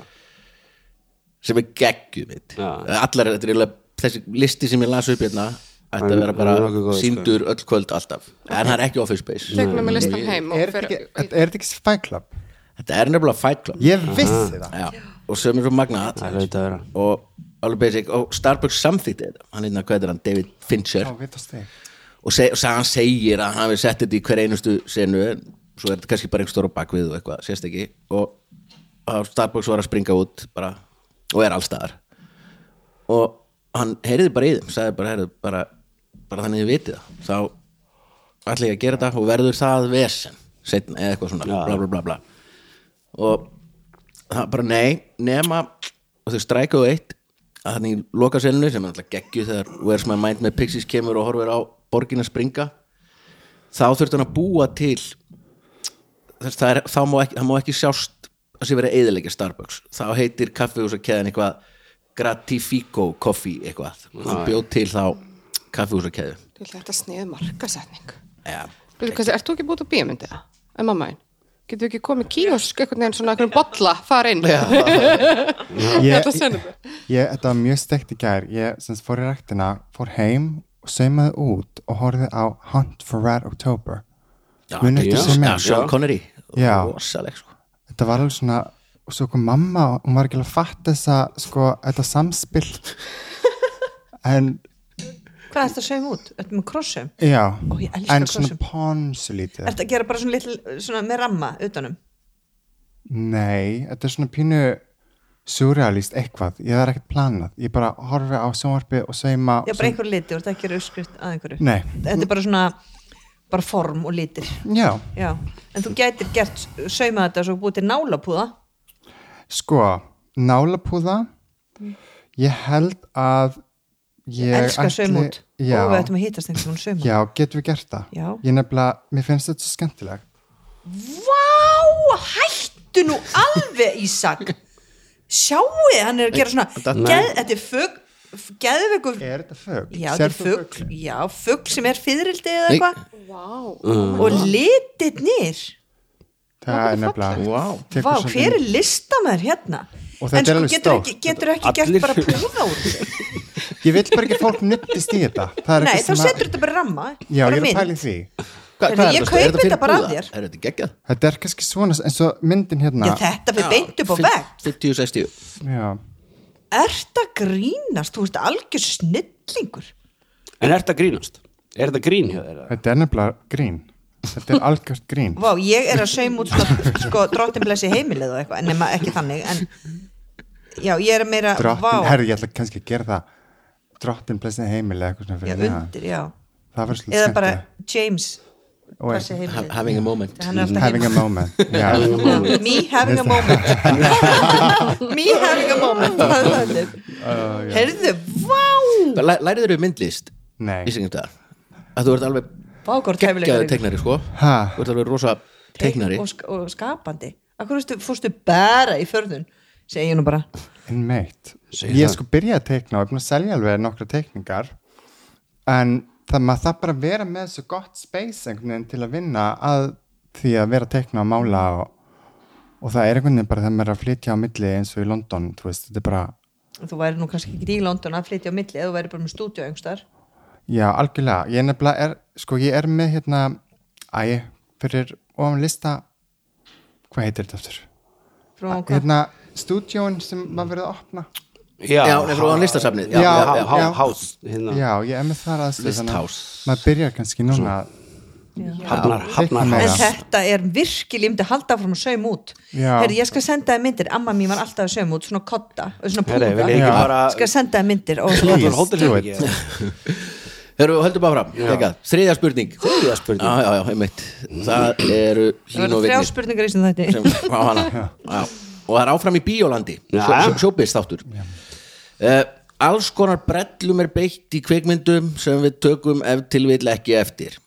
Speaker 2: sem er geggjum mitt
Speaker 5: Já.
Speaker 2: allar, þetta er eiginlega, þessi listi sem ég las upp hérna ætti
Speaker 5: Hann-
Speaker 2: að vera bara
Speaker 5: hann er nokkuð góður, sko.
Speaker 2: síndur öll kvöld alltaf en það er ekki Office Space
Speaker 6: tegnum við listan heim og
Speaker 4: Mm. Er þetta
Speaker 6: fyrir
Speaker 4: ekki- þetta- er þetta ekki Fight Club?
Speaker 2: þetta er nefnilega Fight Club
Speaker 4: Ég vissi það
Speaker 2: Já, og sem er svo magnað
Speaker 5: Það er auðvitað að vera
Speaker 2: og alveg basic og Starbucks samþýtti þetta hann hérna, hvað er hann, David Fincher
Speaker 4: Já, við það steg
Speaker 2: og, seg, og sag, hann segir að hann hafi sett þetta í hver einustu senu en svo er þetta kannski bara einhver stóra bakvið og eitthvað, sést ekki og, og Starbucks var að springa út bara, og er allstaðar og hann heyriði bara í þeim sagði bara, heyrðu, bara, bara þannig þið vitið það þá ætla ég að gera þetta og verður það vesen setna, eða eitthvað svona,
Speaker 5: Já.
Speaker 2: bla bla bla bla og það bara nei, nema og þau strækaðu eitt að þannig í lokaselinu sem er alltaf geggju þegar Where's My Mind með Pixies kemur og horfir á borgin að springa þá þurft hann að búa til þess, það, er, þá má ekki, það má ekki sjást að sé verið að eðilegja Starbucks þá heitir kaffihúsakeðan eitthvað Gratifico Coffee eitthvað hann bjóð til þá kaffihúsakeðu
Speaker 6: Þú ætla þetta sniðu markasetning
Speaker 2: ja.
Speaker 6: Býtu, hvað, Ert þú ekki búið á bíómyndið? En mamma einn Getur ekki komið kiosk einhvern veginn svona einhvern bolla fara inn Ég ætla að
Speaker 4: ég,
Speaker 6: segja þetta.
Speaker 4: ég, þetta var mjög steikt í gær ég sem sagt fór í ræktina, fór heim og saumaði út og horfði á Hunt for Red October
Speaker 2: Já,
Speaker 4: Muni eftir
Speaker 2: já,
Speaker 4: sem
Speaker 2: já,
Speaker 4: er.
Speaker 2: Sean
Speaker 5: Já.
Speaker 2: Connery
Speaker 4: Já.
Speaker 2: rosaleg sko
Speaker 4: þetta var alveg svona og svo kom mamma og hún var ekki alveg að fatta þessa sko, þetta samspil
Speaker 3: [LAUGHS]
Speaker 4: en
Speaker 3: hvað er þetta að saum út? Ertu með krossum?
Speaker 4: já
Speaker 3: Ó, ég elska
Speaker 4: en svona
Speaker 3: krossum.
Speaker 4: ponsu lítið
Speaker 3: Ertu að gera bara svona, litl, svona með ramma utanum?
Speaker 4: nei, þetta er svona pínu surrealist eitthvað, ég er ekkert planað ég bara horfi á sjónvarpið og sauma
Speaker 3: Já,
Speaker 4: og
Speaker 3: bara
Speaker 4: svo-
Speaker 3: einhver liti, voru þetta ekki rauðskrift að einhverju?
Speaker 4: Nei.
Speaker 3: Þetta er bara svona, bara form og litir.
Speaker 4: já,
Speaker 3: Já, en þú gætir gert, sauma þetta og svo búið til nálapúða.
Speaker 4: sko nálapúða ég held að ég
Speaker 3: Ég Mm. elska saum út.
Speaker 4: já,
Speaker 3: Og við ættum að hýtast einhvern veginn saum út.
Speaker 4: já, getum við gert það
Speaker 3: Já.
Speaker 4: ég nefnilega, mér finnst þetta svo skemmtilegt
Speaker 3: Vá, hættu nú alveg Ísak. Sjáu, hann er að gera svona, geð, þetta er fugg, geðveiku,
Speaker 4: er þetta fugg?
Speaker 3: já, þetta er fugg, já, fugg sem er fyririldi eða
Speaker 2: Nei.
Speaker 3: eitthvað
Speaker 6: Vá
Speaker 3: og litirnir.
Speaker 4: það er nefnilega
Speaker 2: Vá.
Speaker 4: Tekur
Speaker 3: Vá,
Speaker 4: svolítið-
Speaker 3: hver er listamæður hérna?
Speaker 4: Og þetta
Speaker 3: en
Speaker 4: er alveg
Speaker 3: getur
Speaker 4: stórt.
Speaker 3: ekki, getur ekki gert
Speaker 5: Allir-
Speaker 3: bara púða úr þessu?
Speaker 4: ég vil bara ekki að fólk nuttist í þetta það er
Speaker 3: Nei,
Speaker 4: ekki
Speaker 3: þá setur þetta bara í ramma bara
Speaker 4: já, ég er að
Speaker 3: mynd.
Speaker 4: pæla í því
Speaker 2: Hva,
Speaker 3: Heyrðu,
Speaker 2: hvað er þetta?
Speaker 3: ég
Speaker 2: Er
Speaker 3: kaupi
Speaker 2: fyrir
Speaker 3: þetta bara af
Speaker 2: búða?
Speaker 3: þér.
Speaker 2: Er þetta geggjað?
Speaker 4: þetta er kannski svona eins og myndin hérna
Speaker 3: Já, þetta fyrir beint upp á vekk
Speaker 2: 50-60
Speaker 4: já.
Speaker 3: Ert að grínast, þú ert algjör snillingur
Speaker 5: En er þetta grínast? Er þetta grín hjá þeirra?
Speaker 4: þetta er nefnilega grín þetta er algjört grín
Speaker 3: Vá, ég er að saum út sko, sko drottinblessi heimilið og eitthvað en nema ekki þannig en, Já, ég er meira
Speaker 4: drottin,
Speaker 3: vá,
Speaker 4: herru ég ætla kannski að gera það drottin blessin heimil eða eitthvað svona
Speaker 3: já,
Speaker 4: fyrir neðan.
Speaker 3: undir, já
Speaker 4: það var svolítið
Speaker 3: Eða bara
Speaker 4: skemmtilegt.
Speaker 3: James
Speaker 4: Og-
Speaker 3: blessi heimilið
Speaker 2: having a moment
Speaker 3: Hann er alltaf
Speaker 4: having a
Speaker 3: heima
Speaker 4: moment já.
Speaker 3: Me having a moment Me having a moment Það er þannig. Heyrðu, vá
Speaker 2: Læ, Læriður þau myndlist
Speaker 4: nei,
Speaker 2: í segjum að þú ert alveg
Speaker 3: Vá, hvort
Speaker 2: geggjaður
Speaker 3: hæfileikar
Speaker 2: teiknari sko
Speaker 4: Ha?
Speaker 2: þú ert alveg rosa teiknari
Speaker 3: og, sk og skapandi Akkur veistu, fórstu bara í förðun segi ég nú bara
Speaker 4: en meitt
Speaker 5: Segir
Speaker 4: ég
Speaker 5: það.
Speaker 4: sko byrja að teikna og ég er búin að selja alveg nokkra teikningar en það maður það bara að vera með þessu gott space einhvern veginn til að vinna að því að vera að teikna og mála og, og það er einhvern veginn bara þegar maður er að flytja á milli eins og í London þú veist, þetta er bara,
Speaker 3: þú væri nú kannski ekki í London að flytja á milli eða þú væri bara með stúdíu einhverstar
Speaker 4: já, algjörlega ég er nefnilega, er, sko ég er með hérna æ, fyrir ofan lista hvað heitir þetta aftur?
Speaker 3: frá hvað
Speaker 4: hérna, stúdjón sem maður verið að opna
Speaker 5: Já,
Speaker 2: já, nefnir á listasafnið já,
Speaker 4: Já,
Speaker 2: já, já,
Speaker 5: há-
Speaker 4: já.
Speaker 5: há- Háð, hérna,
Speaker 4: já, ég er með þar aðstöð þannig að
Speaker 2: Listhouse.
Speaker 4: maður byrjar kannski núna að
Speaker 5: hafnar, hafnar,
Speaker 4: Teikna meira.
Speaker 3: en
Speaker 5: hafnar.
Speaker 3: þetta er virkilega um til að halda fram að saum út
Speaker 4: Já.
Speaker 3: Heyrðu, ég skal senda þið myndir, amma mín var alltaf að saum út svona kotta, og svona
Speaker 5: Herra, vil
Speaker 3: púða
Speaker 5: ég ekki
Speaker 4: Já.
Speaker 5: bara
Speaker 3: skal senda þið myndir og
Speaker 4: Please,
Speaker 5: Hafnar hóttir
Speaker 4: do
Speaker 5: hér
Speaker 4: it.
Speaker 5: ekki
Speaker 2: Heru, höldum bara fram, geggjað, þriðja spurning
Speaker 5: Þriðja spurning.
Speaker 2: já, já, já, einmitt það eru hlín
Speaker 3: það verður
Speaker 2: og
Speaker 3: þrjá
Speaker 2: vignir
Speaker 3: spurningar í sem þetta
Speaker 2: sem á hana já. og það er áfram í Bíólandi
Speaker 5: Já.
Speaker 2: sjópist þáttur uh, alls konar brellum er beitt í kveikmyndum sem við tökum ef til vill ekki eftir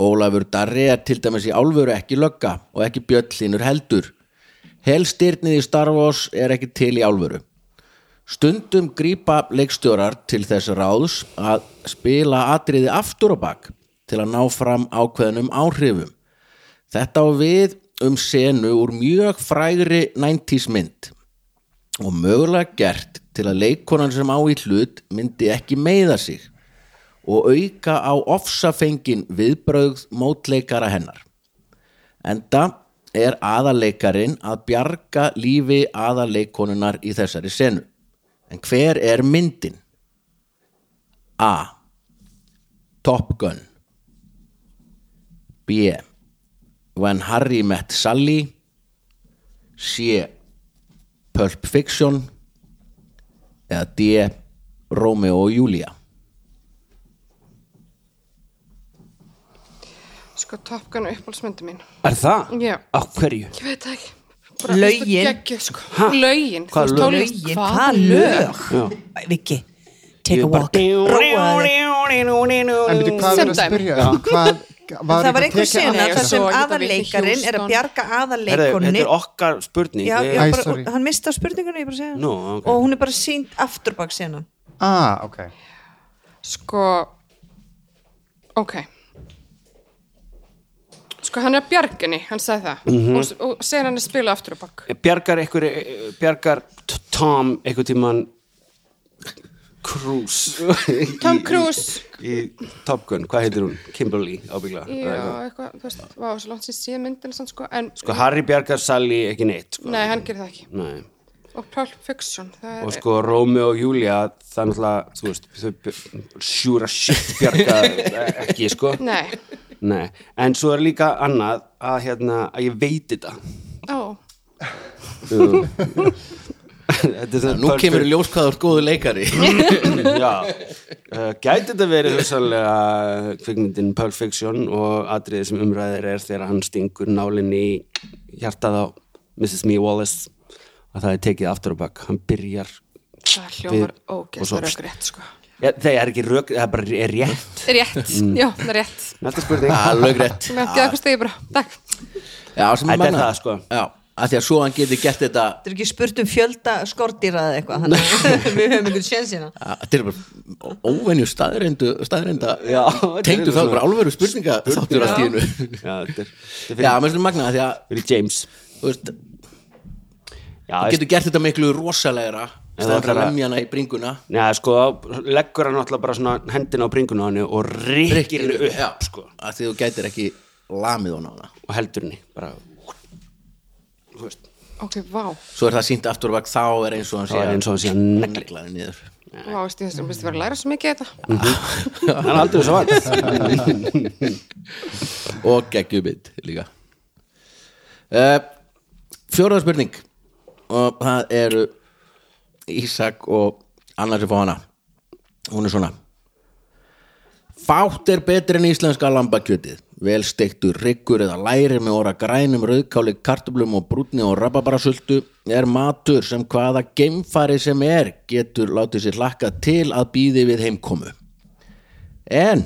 Speaker 2: Ólafur Darri er til dæmis í álfuru ekki lögga og ekki bjöllínur heldur Helstyrnið í Star Wars er ekki til í álfuru Stundum grípa leikstjórar til þess ráðs að spila atriði aftur á bak til að ná fram ákveðnum áhrifum. Þetta á við um senu úr mjög frægri 90s mynd og mögulega gert til að leikkonan sem á í hlut myndi ekki meiða sig og auka á ofsafengin viðbrögð mótleikara hennar. Enda er aðaleikarin að bjarga lífi aðaleikonunar í þessari senu. En hver er myndin? A. Top Gun B. When Harry Met Sally C. Pulp Fiction eða D. Romeo og Julia
Speaker 6: Sko Top Gun er uppáhaldsmyndi mín
Speaker 5: Er það?
Speaker 6: Já.
Speaker 5: Á hverju?
Speaker 6: Ég veit það ekki
Speaker 3: Lögin?
Speaker 6: geggjö, sko. Lögin
Speaker 5: Hvaða
Speaker 6: þú veist,
Speaker 5: lög?
Speaker 6: tónlist,
Speaker 3: Lögin,
Speaker 6: hvað
Speaker 3: hvað lög? Viki, take a walk Róaði
Speaker 4: En byrju, hvað er að
Speaker 6: Sem dæmi.
Speaker 4: spyrja? Hvað, var
Speaker 3: Það var einhver
Speaker 4: tekið
Speaker 3: sinna
Speaker 4: annað
Speaker 6: annað
Speaker 3: þar sem
Speaker 6: svo ég geta
Speaker 3: aðarleikarin
Speaker 6: vikið
Speaker 3: er að
Speaker 6: Houston.
Speaker 3: bjarga
Speaker 5: Herðu, Þetta
Speaker 3: aðarleikunni
Speaker 5: er okkar spurning
Speaker 3: Já,
Speaker 5: Við-
Speaker 3: já,
Speaker 4: Æ,
Speaker 3: bara,
Speaker 4: sorry.
Speaker 3: hann mista spurningunni, ég bara segja
Speaker 5: Nú, ok.
Speaker 3: Og hún er bara sínt afturbak sena
Speaker 4: Ah, ok.
Speaker 6: Sko Ok Sko hann er að bjarginni, hann sagði það og, og segir hann að spila aftur á bakk
Speaker 5: Bjargar einhver eh, Bjargar T- Tom einhver tíman Cruise í-
Speaker 6: [LAUGHS] Tom Cruise
Speaker 5: í Top Gun, hvað heitir hún? Kimberly ábyggla
Speaker 6: Já, eitthvað, þú veist, vá, svo langt sér síðan myndin samt, sko, en,
Speaker 5: Sko Harry Bjargar Sally ekki neitt sko.
Speaker 6: nei, hann gerir það ekki
Speaker 5: Nei.
Speaker 6: og Pulp Fiction, það er
Speaker 5: Og sko Romeo og Julia það er náttúrulega, þú veist þau sjúra shit
Speaker 6: [LAUGHS]
Speaker 5: Bjargar ekki sko
Speaker 6: nei,
Speaker 5: Nei. En svo er líka annað að, hérna, að ég veit
Speaker 6: [LAUGHS]
Speaker 5: þetta
Speaker 6: ó,
Speaker 5: Þetta er svona
Speaker 2: Nú
Speaker 5: Pulp
Speaker 2: kemur í ljós hvað þú ert góðu leikari
Speaker 5: [LAUGHS] Já, uh, gæti þetta verið hugsalega kvikmyndin Pulp Fiction og atriðið sem umræðir er þegar hann stingur nálinni í hjartað á Mrs. Me Wallace að það er tekið aftur á bak, hann byrjar
Speaker 6: það hljómar
Speaker 5: Við- og svo-
Speaker 6: ógeðslega rökrétt, sko
Speaker 5: ja, það er ekki rök, það bara er rétt
Speaker 6: Rétt,
Speaker 5: Mm.
Speaker 6: já, það er rétt
Speaker 5: Næsta spurning
Speaker 2: Alveg
Speaker 5: [LAUGHS]
Speaker 2: rétt
Speaker 6: Mér ætti eitthvað stegi bara, takk
Speaker 2: Já, sem
Speaker 5: Þetta er
Speaker 2: manna.
Speaker 5: það, sko.
Speaker 2: Já, að því að svo hann geti gett þetta
Speaker 3: Þetta er ekki spurt um fjölda skordýra eða eitthvað þannig að [LAUGHS] Við höfum einhvern hérna. sjensina
Speaker 2: að Þetta er bara óvenju staðreindu staðreinda
Speaker 5: Já, þetta er
Speaker 2: [LAUGHS] Tengdu það
Speaker 5: svona-
Speaker 2: bara álveru spurninga þáttur allt í hennu
Speaker 5: [LAUGHS] Já, þetta er, þetta er
Speaker 2: Já,
Speaker 5: fyrir,
Speaker 2: mér finnst magna því að
Speaker 5: fyrir James
Speaker 2: þú veist,
Speaker 5: Já,
Speaker 2: getur gert þetta miklu rosalegra
Speaker 5: Ef
Speaker 2: staðan fyrir
Speaker 5: ætlar
Speaker 2: að
Speaker 5: að-
Speaker 2: lemja hana í bringuna
Speaker 5: Já, sko, leggur hann alltaf bara svona hendina á bringuna á henni og rikkir henni upp,
Speaker 2: já,
Speaker 5: sko
Speaker 2: að því þú gætir ekki lamið hana á hana
Speaker 5: og heldur henni, bara Þú veist
Speaker 6: Ok, vá,
Speaker 2: svo er það sínt aftur og bak þá er eins og hann
Speaker 5: Þá er eins og hann sé að negla.
Speaker 2: neglaði niður
Speaker 6: vá, veist, ég finnst að vera að læra svo mikið
Speaker 5: Mm.
Speaker 6: þetta
Speaker 5: hann er aldrei svo vant
Speaker 2: og geggjubit líka uh, fjóraða spurning og það eru Ísak og annar sem fá hana hún er svona Fátt er betri en íslenska lambakjötið vel steiktur ryggur eða læri með óra grænum, rauðkáli, kartöblum og brúnni og rababarasultu er matur sem hvaða geimfari sem er getur látið sér hlakka til að býði við heimkomu En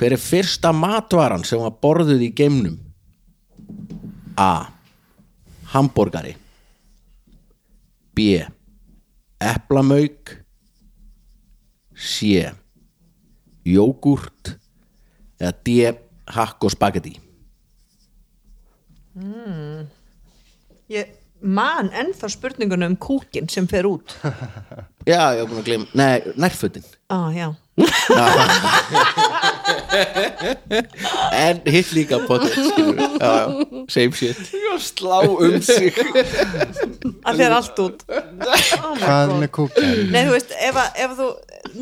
Speaker 2: hver er fyrsta matvaran sem var borðuð í geimnum? A. Hamborgari B. Eplamauk C. Jógurt eða D. Hakk og spagetti
Speaker 3: Ég man ennþá spurninguna um kúkin sem fer
Speaker 4: [LAUGHS]
Speaker 3: út
Speaker 2: Já, ég er búin að gleyma Nei, nærfötin
Speaker 3: Á, Ah, já
Speaker 2: En hitt líka potið skilurðu. Já, já, same shit
Speaker 5: slá um sig
Speaker 3: Það fer allt út oh my
Speaker 4: Hvað
Speaker 3: God.
Speaker 4: með kúkinn?
Speaker 3: Nei, þú veist, ef, að- ef þú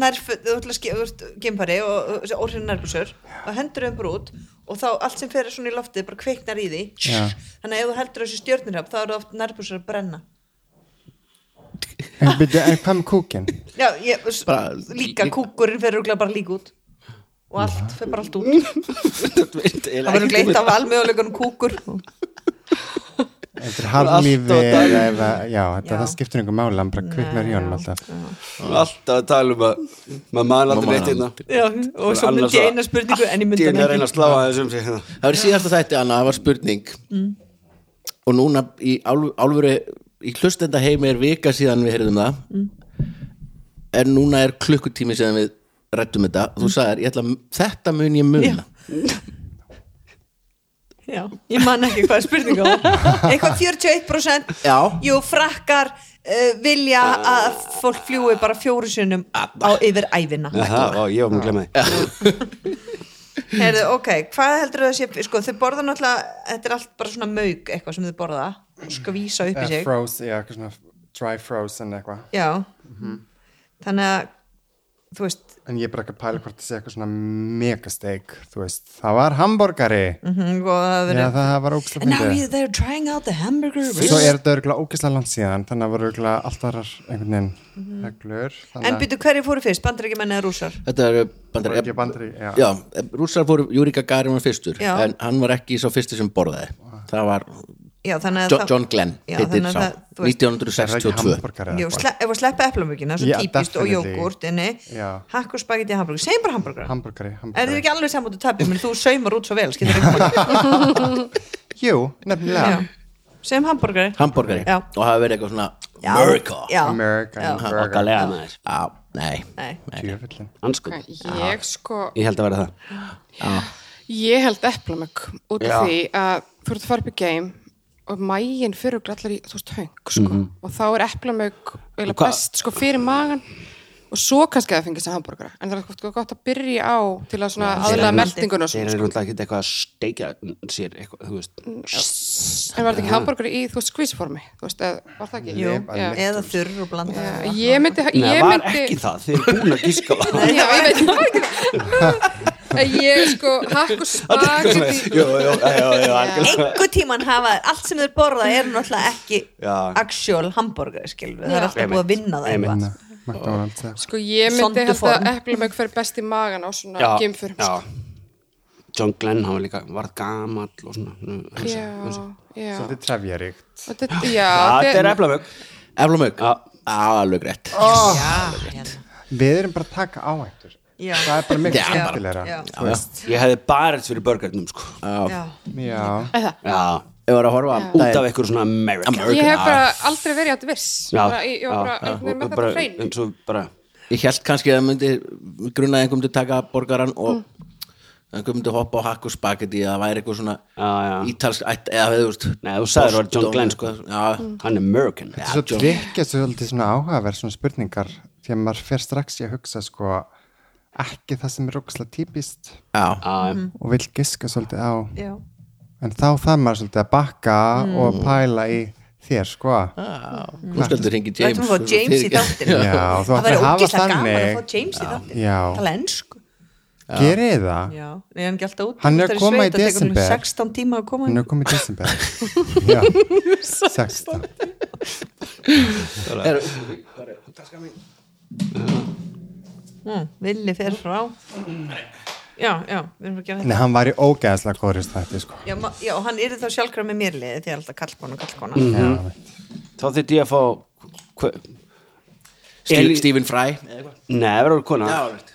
Speaker 3: nærföt, þú ætla að skipta, þú ert gimpari og og- og orðin nærbúsur og hendur þeim bara út og þá allt sem fer svona í loftið bara kveiknar í því
Speaker 4: Já.
Speaker 3: þannig að ef þú heldur þessu stjörnirhaf þá eru oft nærbúsur að brenna
Speaker 4: En byrju, en hvað með kúkinn?
Speaker 3: Já, ég, s-
Speaker 2: Bara-
Speaker 3: líka kúkurinn fer rúglega bara líka út og allt, fer bara allt út það verður gleitt af almjöguleikunum kúkur
Speaker 4: Þetta er harmlífi eða, eða, já, þetta,
Speaker 3: Já.
Speaker 4: það skiptir einhver mála, hann bara kviknar í honum alltaf.
Speaker 5: alltaf að tala um að maður man
Speaker 2: Maður
Speaker 5: aldrei
Speaker 2: man
Speaker 5: neitt hérna
Speaker 3: Já, og svo myndi ég eina spurningu en ég myndi
Speaker 5: ég er að um
Speaker 3: hana
Speaker 5: reyna
Speaker 3: ekki
Speaker 5: að slá að þessum sig hérna
Speaker 2: Það var í síðasta þætti, Anna, það var spurning og núna í alv- alvöru í hlustendaheimi er vika síðan við heyrðum það en núna er klukkutími síðan við rættum þetta þú sagðir, ég ætla, að- þetta mun ég muna
Speaker 3: Já. Já, ég man ekki hvað spurninga var [LAUGHS] Eitthvað 41%
Speaker 2: Já.
Speaker 3: Jú, frakkar uh, vilja að fólk fljúi bara fjóru sinnum á yfir æfina
Speaker 5: Það, ó, ég var mér að glemma
Speaker 2: Eh,
Speaker 5: því
Speaker 3: Heyrðu, ok, hvað heldur það sé sko, þau borða náttúrulega, þetta er allt bara svona mauk eitthvað sem þau borða, skvísa upp í
Speaker 4: Eh,
Speaker 3: sig
Speaker 4: froze, já, eitthvað svona dry frozen eitthvað
Speaker 3: Já
Speaker 2: Mhm.
Speaker 3: Þannig að, þú veist
Speaker 4: en ég er bara ekki að pæla hvort það sé eitthvað svona megasteik, þú veist, það var hamborgari
Speaker 3: mm og það
Speaker 4: já,
Speaker 3: verið
Speaker 4: það var ógæslega
Speaker 3: And now
Speaker 4: fyndið
Speaker 3: we- they're trying out the hamburger
Speaker 4: svo er þetta örgulega ógæslega langt síðan þannig að voru örgulega allt aðrar einhvern veginn reglur
Speaker 3: Mhm. En
Speaker 4: þannig að
Speaker 3: byrju, hverju fóru fyrst, bandur ekki menna rússar?
Speaker 2: þetta eru bandar,
Speaker 4: Voru ekki bandari, já.
Speaker 2: já, rússar fóru Júri Gagarin var fyrstur,
Speaker 3: Já.
Speaker 2: en hann var ekki sá fyrsti sem borðaði, það var
Speaker 3: Já, þannig að
Speaker 2: John,
Speaker 3: þá-
Speaker 2: John Glenn
Speaker 3: Já,
Speaker 2: heitir
Speaker 3: þannig að
Speaker 2: sá,
Speaker 3: það- þú veist-
Speaker 4: er það ekki
Speaker 2: 1962
Speaker 4: hamborgari
Speaker 3: Jú,
Speaker 4: eða
Speaker 3: sle ef að sleppa eplamökina, svo
Speaker 4: Já,
Speaker 3: típist og
Speaker 4: definitely.
Speaker 3: jógurt inni,
Speaker 4: Já.
Speaker 3: hakk og spagetti hamburger, segjum bara hamburger
Speaker 4: hamborgari,
Speaker 3: er þið
Speaker 4: hamborgari
Speaker 3: ekki alveg samvættu tapir, menn þú saumar út svo vel skilur ekki
Speaker 4: [LAUGHS] jú, nefnilega
Speaker 3: segjum hamburger
Speaker 2: hamburgari
Speaker 3: Já.
Speaker 2: og það hafa verið eitthvað svona America Ah,
Speaker 3: já.
Speaker 4: American
Speaker 3: Já.
Speaker 4: burger
Speaker 5: Okkarlega maður
Speaker 2: Já, nei,
Speaker 3: Nei.
Speaker 4: Djöfullinn.
Speaker 5: Anskot
Speaker 6: ég sko
Speaker 5: Ég held að vera það
Speaker 6: ég held eplamökk út af
Speaker 5: Já.
Speaker 6: því að þú ert að fara upp í game og mægin fyrir okkur allar í þú veist höng sko.
Speaker 5: Mhm.
Speaker 6: og þá er eplamökk eiginlega
Speaker 5: Hva-
Speaker 6: best sko, fyrir magan og svo kannski að það fengið sem hambúrgara en það er sko gott að byrja á til að svona aðlega meldingun og
Speaker 5: Þeir
Speaker 6: svona
Speaker 5: eru
Speaker 6: sko.
Speaker 5: náttúrulega ekki eitthvað að steikja sér eitthvað, þú
Speaker 3: Mm,
Speaker 5: veist
Speaker 6: en var þetta ekki hambúrgara í þú veist skvísformi þú veist, eða, var það ekki?
Speaker 3: Jú,
Speaker 6: já.
Speaker 3: eða þurr og blanda
Speaker 6: Já, ég myndi,
Speaker 5: Nei,
Speaker 6: ég
Speaker 5: það var
Speaker 6: myndi
Speaker 5: ekki það, þeir eru búin að gíska á [LAUGHS] það
Speaker 6: Já, ég veit, það var ekki það En ég sko, hakk og spagetti
Speaker 5: Jó, jó, já, já, já, algjörlega.
Speaker 3: einhver tíman hafa, allt sem þau borða er náttúrulega ekki
Speaker 5: Já.
Speaker 3: actual hamburger skilur, það er
Speaker 6: Já.
Speaker 3: alltaf búið að vinna það eitthvað
Speaker 4: Nei, McDonalds eða-
Speaker 6: Sko, ég myndi held
Speaker 3: Sonduform.
Speaker 6: að eplamögg fer best í magan á svona
Speaker 5: Já,
Speaker 6: gimfur
Speaker 5: já. John Glenn, hann var líka, varð gamall og svona nú, hann
Speaker 6: já,
Speaker 5: sagði- hann sagði-
Speaker 6: já.
Speaker 4: svolítið trefjaríkt
Speaker 6: Og þetta- já
Speaker 5: Það
Speaker 6: þetta
Speaker 5: er eflamög
Speaker 2: Eflamögg
Speaker 5: Já.
Speaker 2: alveg rétt
Speaker 3: já, hérna.
Speaker 4: við erum bara að taka áhættur
Speaker 3: Já.
Speaker 4: það er bara mikil
Speaker 2: Já.
Speaker 4: skemmtilegra
Speaker 3: Já.
Speaker 4: þú veist.
Speaker 5: Ég hefði barist fyrir burgernum, sko
Speaker 3: já,
Speaker 4: já,
Speaker 6: Eða,
Speaker 5: Já,
Speaker 2: Ég var að horfa á
Speaker 5: út af
Speaker 2: daginn-
Speaker 5: einhverjum svona American
Speaker 6: Ég hef bara aldrei verið átt viss
Speaker 5: Já,
Speaker 6: bara, Ég ég var bara, einhvern veginn með
Speaker 5: og
Speaker 6: þetta
Speaker 5: bara, um-
Speaker 6: á hreinu
Speaker 5: eins og bara
Speaker 2: Ég held kannski að það myndi grunnaði einhver myndi taka borgaran
Speaker 3: Mm.
Speaker 2: og einhver myndi hoppa á hakk og spagetti eða það væri eitthvað svona
Speaker 5: Já, já.
Speaker 2: ítalsk ætt- eða þú veist
Speaker 5: Nei, þú sagðir það var John
Speaker 2: Boston
Speaker 5: Glenn, sko.
Speaker 2: eitthvað, Já,
Speaker 3: Mm.
Speaker 5: hann er American
Speaker 2: Já,
Speaker 4: svo
Speaker 2: John-
Speaker 4: tryggja svolítið svona áhugaverð svona spurningar því að maður fer strax í að hugsa sko ekki það sem er ógæslega típist
Speaker 2: já,
Speaker 5: Já,
Speaker 4: og vil giska svolítið á
Speaker 3: Mm-hmm. já Mm.
Speaker 4: en þá þarf maður svolítið að bakka og pæla í þér sko
Speaker 2: nú skaldur hringi James
Speaker 3: Lætum við fá James í þáttin
Speaker 4: Já, þú
Speaker 3: það
Speaker 4: ættir
Speaker 3: væri
Speaker 4: að hafa
Speaker 3: ógislega gaman að
Speaker 4: þannig
Speaker 3: fá James í þáttin
Speaker 4: Já.
Speaker 3: tala ensku
Speaker 4: gerið það,
Speaker 3: Já, nei, hann er ekki alltaf út
Speaker 4: Hann er
Speaker 3: Það
Speaker 4: að koma
Speaker 3: sveit,
Speaker 4: í
Speaker 3: það tekur honum
Speaker 4: desember.
Speaker 3: 16 tíma að koma
Speaker 4: hann
Speaker 3: inn
Speaker 4: er komið í
Speaker 3: [LAUGHS]
Speaker 4: desember já, 16
Speaker 3: mm, Villi fer frá Já, já, við erum að gera
Speaker 4: en
Speaker 3: þetta
Speaker 4: hann var í ógæðslega kórist þetta sko
Speaker 3: Já, ma- já, og hann yrði þá sjálfkrafa með mér liði því að alltaf kallkona, kallkona
Speaker 4: já, veit.
Speaker 5: þá þýtti ég að fá hva, Eli-
Speaker 2: Stephen Fry
Speaker 5: Nei, það verður kona,
Speaker 2: Já, rétt.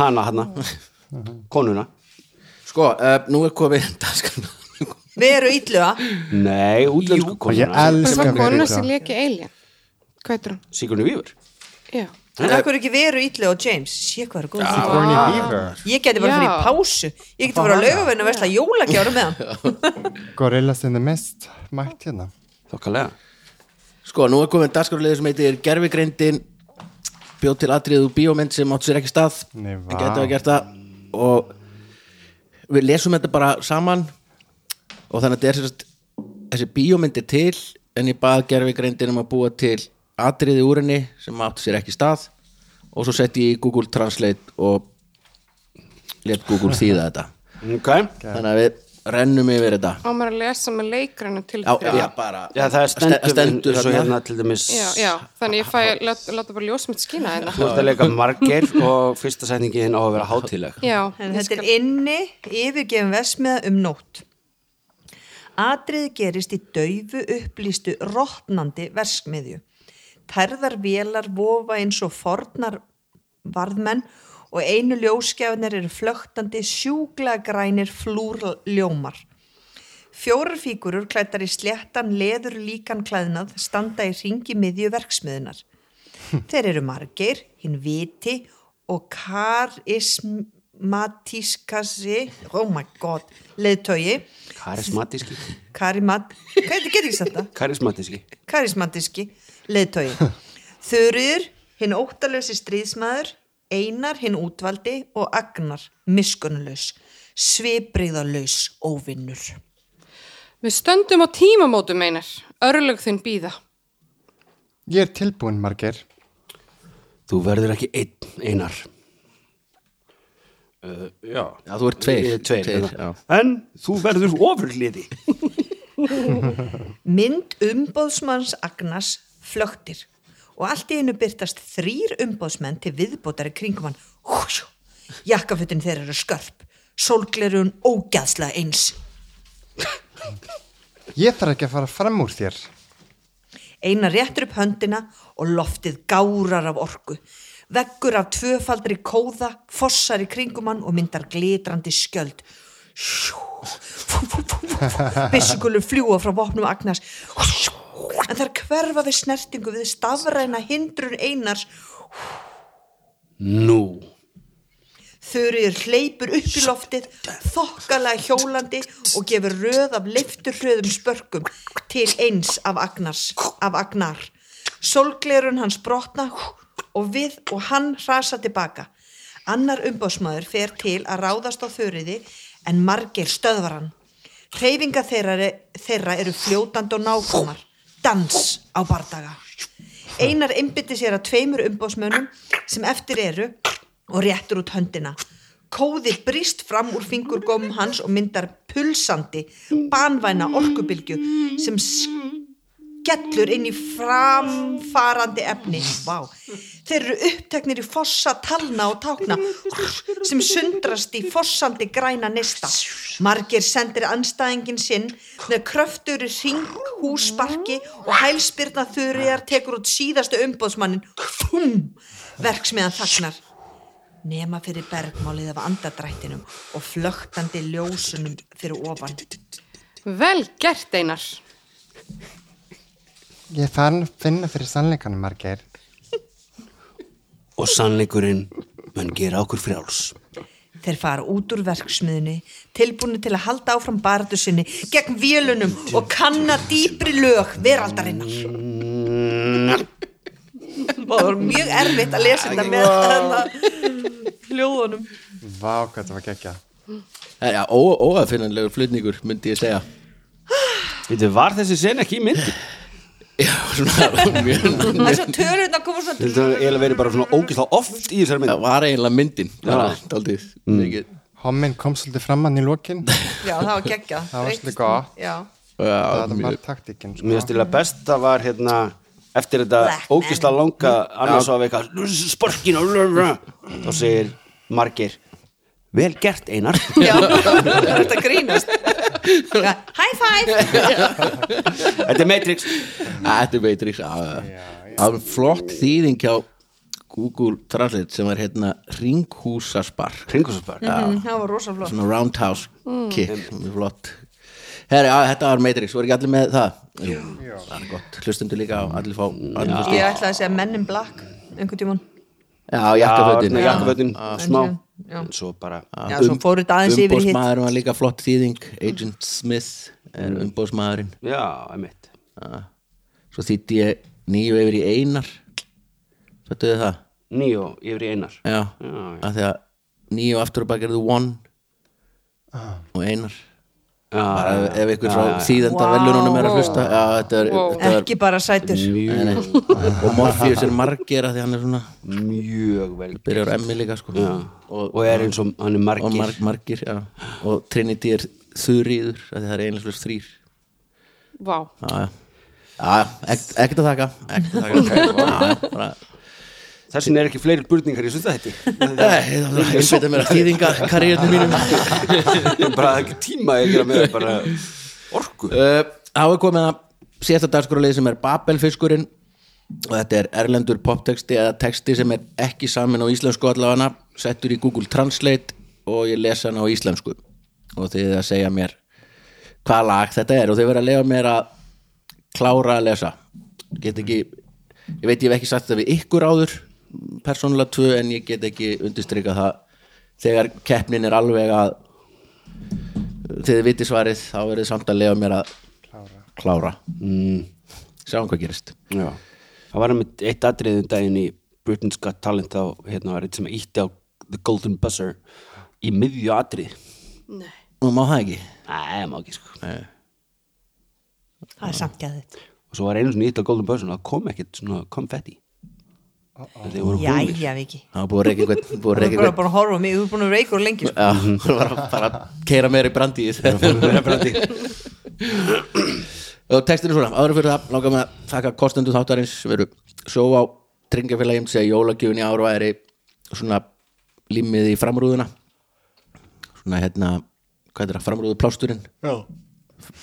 Speaker 5: hana hana konuna
Speaker 2: Sko, uh, nú er komið [LAUGHS] dagskan
Speaker 3: Við erum ítluða
Speaker 5: Nei, útlensku
Speaker 4: og ég
Speaker 5: konuna
Speaker 6: Það
Speaker 4: elska
Speaker 6: var
Speaker 4: fyrir
Speaker 6: kona sem
Speaker 4: það
Speaker 6: leki alien Hvað heitir hún?
Speaker 5: Sigurnu Vífur
Speaker 6: Já
Speaker 3: En akkur ekki við erum ítluða og James Sé hvað er góð ah.
Speaker 4: Sigourney Weaver,
Speaker 3: Ég geti bara
Speaker 6: Já.
Speaker 3: fyrir í pásu Ég geti bara að laugavinn og versla jólagjáru
Speaker 4: [LAUGHS]
Speaker 3: með hann
Speaker 4: Gorillas in the Mist mætt hérna
Speaker 5: Þokkalega
Speaker 2: Sko, nú er komið dagskarulegu sem heitir Gervigreindin bjóð til atriðu bíómynd sem átt sér ekki stað
Speaker 4: Nei, vá.
Speaker 2: en getur að gert það og við lesum þetta bara saman og þannig að þetta er sérst, þessi bíómynd er til en ég bað Gervigreindin um að búa til atriði úr henni sem átt sér ekki stað og svo setti ég í Google Translate og let Google þýða
Speaker 4: [LAUGHS]
Speaker 2: þetta
Speaker 5: Ok,
Speaker 2: þannig að við rennum yfir þetta
Speaker 6: Á maður að lesa með leikranum til
Speaker 2: Já,
Speaker 6: þeirra.
Speaker 2: já, bara
Speaker 5: já það er stendur,
Speaker 2: stendur
Speaker 5: eins og
Speaker 2: hérna.
Speaker 5: hérna til dæmis
Speaker 6: já, já Þannig ég fæ, láta láta bara ljósmynd skína hérna
Speaker 5: Þú ert að leika margir og fyrsta setningin á að vera hátíðleg
Speaker 6: Já,
Speaker 3: En
Speaker 6: ég
Speaker 3: þetta
Speaker 6: skal-
Speaker 3: er inni yfirgefin vesmiða um nótt. Atrið gerist í daufu upplýstu rótnandi versmiðju. Tærðar vélar vofa eins og fornar varðmenn og einu ljósgjafnir eru flögtandi sjúklagrænir flúrljómar. Fjórar fígurur klættar í sléttan leður líkan klæðnað standa í ringi miðju verksmiðunar. Þeir eru margir, hinn viti og karismatískasi, oh my god, leðtögi,
Speaker 5: Karismatíski
Speaker 3: karimat, hvað er þetta, ekki þetta?
Speaker 5: Karismatíski
Speaker 3: karismatíski leðtói Þurður, hinn óttalösi stríðsmaður Einar, hinn útvaldi og Agnar, miskunnulaus svipriðalaus óvinnur
Speaker 6: Við stöndum á tímamótum einar, örlög þinn býða.
Speaker 4: Ég er tilbúin, Margeir.
Speaker 5: Þú verður ekki einn, einar uh, Já
Speaker 2: Já, þú ert tveir.
Speaker 5: Ég er tveir,
Speaker 2: Tveir,
Speaker 5: hérna. En þú verður ofurliði
Speaker 3: Mynd umbóðsmanns Agnars flögtir og allt í einu byrtast þrýr umbóðsmenn til viðbótari kringum hann Húsjú, jakkafutin þeir eru skörp sólglerun ógæðslega eins
Speaker 4: Ég þarf ekki að fara fram úr þér.
Speaker 3: Einar réttur upp höndina og loftið gárar af orku. Veggur af tvöfaldri kóða, fossar í kringum hann og myndar glitrandi skjöld. Bissukulur fljúa frá vopnum Agnars. Shú, En þær hverfa við snertingu við stafræna hindrun Einars.
Speaker 5: Nú
Speaker 3: Þurriður hleypur upp í loftið, þokkalega hjólandi og gefur röð af leifturhröðum spörkum til eins af, Agnars, af Agnar. Solglerun hans brotna og við og hann rasa tilbaka. Annar umbásmaður fer til að ráðast á þurriði en margir stöðvar hann. Hreyfinga þeirra, þeirra eru fljótandi og nákvæmar. Dans á bardaga. Einar einbytti sér að tveimur umbásmönnum sem eftir eru og réttur út höndina. Kóði brist fram úr fingurgóm hans og myndar pulsandi, banvæna orkubilgju sem skellur inn í framfarandi efni. Vá. Þeir eru uppteknir í fossa talna og tákna sem sundrast í fossandi græna nista. Margir sendir anstæðingin sinn með kröftur ringhúsbarki og hælspyrna þurriðar tekur út síðastu umbóðsmannin. Fum! Verksmiðan þagnar nema fyrir bergmálið af andadrættinum og flögtandi ljósunum fyrir ofan.
Speaker 6: Vel gert einar.
Speaker 4: Ég er farin að finna fyrir sannleikanum, Margeir.
Speaker 5: Og sannleikurinn mun gera okkur frjáls
Speaker 3: Þeir fara út úr verksmiðunni, tilbúinu til að halda áfram barðu sinni gegn vélunum og kanna dýpri lög veraldarinnar. Og það var mjög erfitt að lesa þetta með þarna hljóðunum.
Speaker 4: Vá, hvað það var gekkja.
Speaker 2: Það er óafinnanlegur flutningur, myndi ég segja.
Speaker 5: Þetta var þessi sen ekki í myndi
Speaker 2: Já, svona, [LAUGHS] mjög,
Speaker 3: Það er svo törurinn að koma
Speaker 5: Þetta
Speaker 3: svona...
Speaker 5: er eiginlega verið bara svona ógislega oft í þessari myndi
Speaker 2: það var eiginlega myndin. Það var daldið mikið.
Speaker 4: Hommin kom svolítið fram hann í
Speaker 5: [LAUGHS]
Speaker 4: lokin.
Speaker 3: Já, það var geggjað.
Speaker 4: Það var svolítið
Speaker 3: Breyttist-
Speaker 4: gott.
Speaker 3: Já.
Speaker 2: Já,
Speaker 4: Það var
Speaker 2: mjög.
Speaker 4: taktikinn,
Speaker 5: Mér
Speaker 4: sko.
Speaker 5: finnst til að besta var hérna eftir
Speaker 3: Black
Speaker 5: þetta
Speaker 3: man.
Speaker 5: ógisla langa annars á eitthvað sporkin og þá segir margir vel gert
Speaker 3: [LAUGHS]
Speaker 5: Einar
Speaker 3: Já, það er þetta grínast. Já, High five!
Speaker 5: þetta er Matrix
Speaker 2: Ah, Þetta er Matrix já, já. Það var flott þýðing hjá Google Translate sem var hérna ringhúsaspark
Speaker 3: Mhm.
Speaker 5: Kringusbark
Speaker 3: Það var rosa flott.
Speaker 2: svona roundhouse kick mjög flott Heri, á, þetta var Matrix, voru ekki allir með það? Jú, það er gott, hlustundu líka á allir fá allir fá stig.
Speaker 3: Ég ætlaði að segja menn in black einhvern tímann.
Speaker 2: Já, jakkafötin
Speaker 5: jakkafötin smá
Speaker 3: Já.
Speaker 5: en svo bara
Speaker 3: Já, svo fóru þetta aðeins yfir í hitt.
Speaker 2: Umbóðsmaðurinn var líka flott þýðing Agent Smith er
Speaker 3: Mm.
Speaker 2: umbóðsmaðurinn
Speaker 5: já, emitt
Speaker 2: Svo þýtti ég nýju yfir í einar Fættu þið það?
Speaker 5: nýjó yfir í Einar
Speaker 2: Já,
Speaker 5: Já, já.
Speaker 2: af því að nýju aftur og bak er þú one
Speaker 5: Ah.
Speaker 2: og einar
Speaker 5: Já,
Speaker 2: Ef, ef ykkur
Speaker 3: Ah,
Speaker 2: frá þýðenda wow. er að hlusta Já, þetta er, þetta er
Speaker 3: Ekki bara sætur.
Speaker 5: mjög,
Speaker 2: Nei, nei. [LAUGHS] og Morpheus er margir að því hann er svona
Speaker 5: mjög vel
Speaker 2: byrjar á emmi líka sko
Speaker 5: og, og er eins og hann er
Speaker 2: og
Speaker 5: margir
Speaker 2: mar margir já. og Trinity er þurriður að það er einlega slúst þrýr já,
Speaker 6: Vá.
Speaker 2: já, já, ekk- ekkert að þakka ekkert að þakka Já, [LAUGHS] já, bara-
Speaker 5: þess vegna er ekki fleiri burningar í sunda [LAUGHS] þetta
Speaker 2: Nei, það var einbæta mér að þýðinga karriérnum mínum
Speaker 5: bara ekki tíma ég gera með bara orku
Speaker 2: Uh, Þá er komið að síðasta dagskrálið sem er Babelfiskurinn og þetta er erlendur poptexti eða texti sem er ekki samin á íslensku allafana settur í Google Translate og ég lesa hann á íslensku og þið að segja mér hvaða lag þetta er og þau verða að lefa mér að klára að lesa get ekki, ég veit ég hef ekki sagt það við ykkur áður persónulega tvö en ég get ekki undirstrykað það þegar keppnin er alveg að þegar þið viti svarið þá verður þið samt að lefa mér að klára,
Speaker 5: mm,
Speaker 2: sjáum hvað gerist
Speaker 5: já. það var einmitt eitt atriðum daginn í Britain's Got Talent þá hérna var eitt sem ítti á The Golden Buzzer í miðju atrið
Speaker 2: nú má það ekki
Speaker 5: Nei, má ekki sko
Speaker 3: það er samt gæðið
Speaker 5: og svo var einu svona ítti á Golden Buzzer og það kom ekkert svona konfetti en þeir voru góðir
Speaker 3: jæja Viki
Speaker 2: það var búið að reyka einhvern búið að
Speaker 3: þú er
Speaker 2: reyka
Speaker 3: bara
Speaker 2: einhvern
Speaker 3: búin að horfa á mig, þú er búin að reykur lengi sko.
Speaker 2: Já, hún var að fara að keira meira í brandi í þessu. og textin er svona, áður en fyrir það langar með að þakka kostendu þáttarins sem eru svo á tryggingafélagin sem jólagjöfun í ár væri svona límið í framrúðuna svona hérna hvað er það, framrúðu plásturinn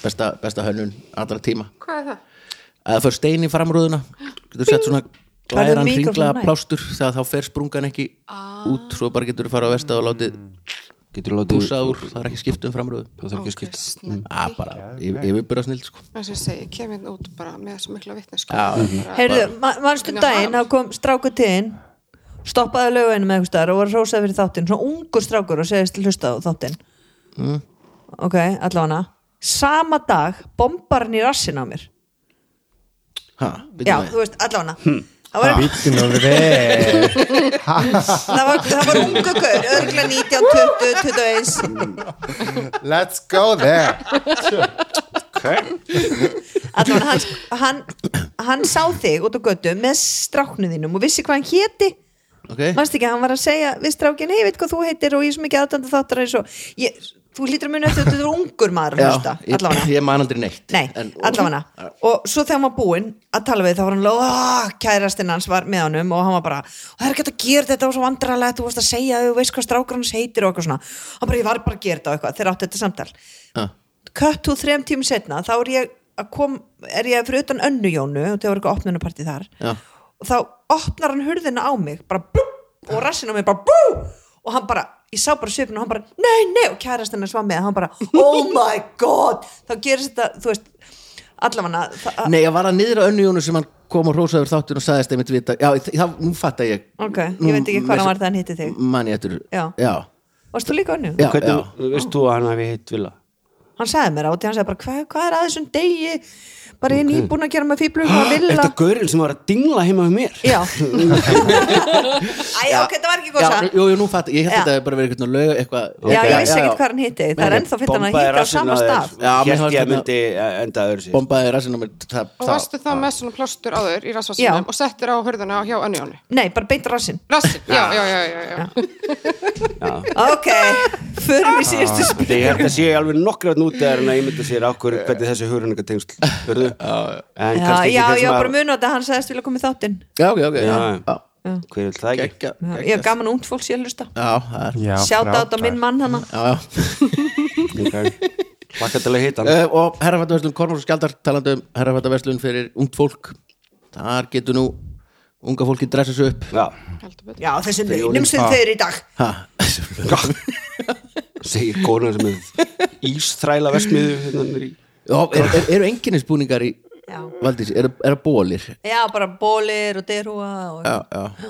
Speaker 2: besta, besta hönnun allra tíma
Speaker 6: Hvað er það?
Speaker 2: að það fyrir stein í framrúðuna getur sett svona
Speaker 3: Hvað er
Speaker 2: glæran
Speaker 3: mikrofónum
Speaker 2: hringlaða
Speaker 3: nær?
Speaker 2: plástur þegar þá fer sprungan ekki út svo bara getur þú fara á verstað og látið
Speaker 5: getur látið
Speaker 2: púsa úr, það er ekki skipt um framrúðu
Speaker 5: það þarf ekki að skipta Mm.
Speaker 6: Snakk.
Speaker 2: að bara yfirbyrða snill sko
Speaker 6: Það sem ég segi, ég kem hérna út bara með svo mikla vitnesk
Speaker 2: Já.
Speaker 6: Mhm.
Speaker 3: heyrðu, ma- manstu daginn þá kom strákur til þinn stoppaði löginu með einhvers staðar og var rósað fyrir þáttinn svona ungur strákur og segist hlusta á þáttinn ok, allavega sama dag bombar hann í rassin á mér
Speaker 2: ha,
Speaker 3: já, þú veist, allavega það var,
Speaker 4: Býttu nú við
Speaker 3: það var, það var ungu gaur örgla 19, 20, 21
Speaker 4: Let's go there
Speaker 3: allavega hann, hann, hann sá þig út á götu með stráknu þínum og vissi hvað hann héti
Speaker 2: ok,
Speaker 3: mannst ekki, hann var að segja við strákin, hei, veit hvað þú heitir og ég er svo mikið aðdanda þáttar eins og ég, þú hlýtur að muni eftir þetta þú er ungur maður
Speaker 2: já,
Speaker 3: að hlusta,
Speaker 2: ég,
Speaker 3: allavega
Speaker 2: ég man aldrei neitt
Speaker 3: Nei,
Speaker 2: En-
Speaker 3: allavega Og svo þegar hann var búinn að tala við þá var hann alveg, kærastinn hans var með honum og hann var bara, það er ekki hægt að gera þetta og svo vandrarlega, þú veist að segja, þú veist hvað strákur hans heitir og eitthvað svona, hann bara, ég var bara að gera þetta og eitthvað, þeir áttu þetta samtal
Speaker 2: Ah.
Speaker 3: Kött þú þrem tímum setna, þá er ég að kom, er ég fyrir utan önnu Jónu og þegar var eitthvað opnunapartið þar
Speaker 2: Já.
Speaker 3: og þá opnar hann hurðina á mig bara bú, og rassin á mig bara bú og hann bara, ég sá bara svipin og hann bara nei, nei, og kærast hennar svá með hann bara, oh my god þá gerist þetta, þú veist allavega það,
Speaker 2: nei, ég var að niðra önnu Jónu sem hann kom og rósaður þáttin og sagðist einmitt vita já, það, nú fatt að ég
Speaker 3: ok, ég veit ekki hvað hann var þegar hann hitti þig
Speaker 2: man ég eftir
Speaker 3: Já.
Speaker 2: já,
Speaker 3: varst þú líka önnu?
Speaker 2: já, já.
Speaker 5: hvernig, veist þú að hann hafi hitt vila
Speaker 3: hann sagði mér átti, hann sagði bara, hvað hva er að þessum degi bara ég er nýbúin að gera með fíblu hvað vil
Speaker 5: þetta gaurinn sem var að dingla heima með mér
Speaker 3: já æ, ok, þetta var ekki
Speaker 2: Já,
Speaker 3: góð sann
Speaker 2: jú, jú, nú fatt, ég held að
Speaker 3: Já.
Speaker 2: þetta hefði bara verið eitthvað lög eitthvað
Speaker 3: já, ég
Speaker 2: Já, já,
Speaker 3: vissi
Speaker 2: já.
Speaker 3: ekkert hvað hann hitti það er ennþá fyrir
Speaker 5: Bombaði
Speaker 3: hann að hitta á
Speaker 5: rassinn
Speaker 3: sama
Speaker 5: þér.
Speaker 3: stað
Speaker 2: Já, mér
Speaker 5: hélt
Speaker 2: fannst hérna-
Speaker 5: ég að
Speaker 2: þetta-
Speaker 5: myndi eh, enda öðru sér
Speaker 2: bombaði rassinu mér það,
Speaker 6: Og varstu þá með svona plástur áður í
Speaker 3: Já.
Speaker 6: rassvarsinum og settir á hörðuna hjá önni áni
Speaker 3: nei, bara beint á rassinn
Speaker 6: Rassin, já, já, já, já, já.
Speaker 3: ok, förum í síðustu spil
Speaker 5: Þetta ég held að sé alveg nokkrat núti er en að ég myndi sér okkur hvernig þessi hugrenningatengsl hörðu en
Speaker 3: Já,
Speaker 5: kannski ekki
Speaker 3: já,
Speaker 5: þeir
Speaker 3: já,
Speaker 5: sem
Speaker 3: bara
Speaker 5: að
Speaker 3: muni á þetta, hann sagðist vilja koma í þáttinn
Speaker 2: já, ok, ok já,
Speaker 5: Já.
Speaker 2: já,
Speaker 5: hver vil það ekki
Speaker 2: Gekkja-
Speaker 3: Já,
Speaker 2: gekkja-
Speaker 3: Ég hef gaman únd fólks, ég hlusta
Speaker 2: já, það er
Speaker 4: Já,
Speaker 3: Sjáta á þetta
Speaker 4: frábært.
Speaker 3: minn mann hana
Speaker 2: já, já
Speaker 5: Laka til að hitta hann
Speaker 2: Eh, og herrafættaverslun Kormáls og Skjaldar talandi um herrafættaverslun fyrir ungt fólk þar getur nú unga fólki dressa sig upp
Speaker 5: Já,
Speaker 6: Heldur betur.
Speaker 3: Já, þessum launum sem þau eru í dag
Speaker 2: ha,
Speaker 5: segir konar sem er ísþræla versmiðu hérna niður í
Speaker 2: Já, er, er, eru enginnisbúningar í
Speaker 3: Já.
Speaker 2: Valdís, eru er bólir já,
Speaker 3: Já, bara bólir og derúa og...
Speaker 2: já,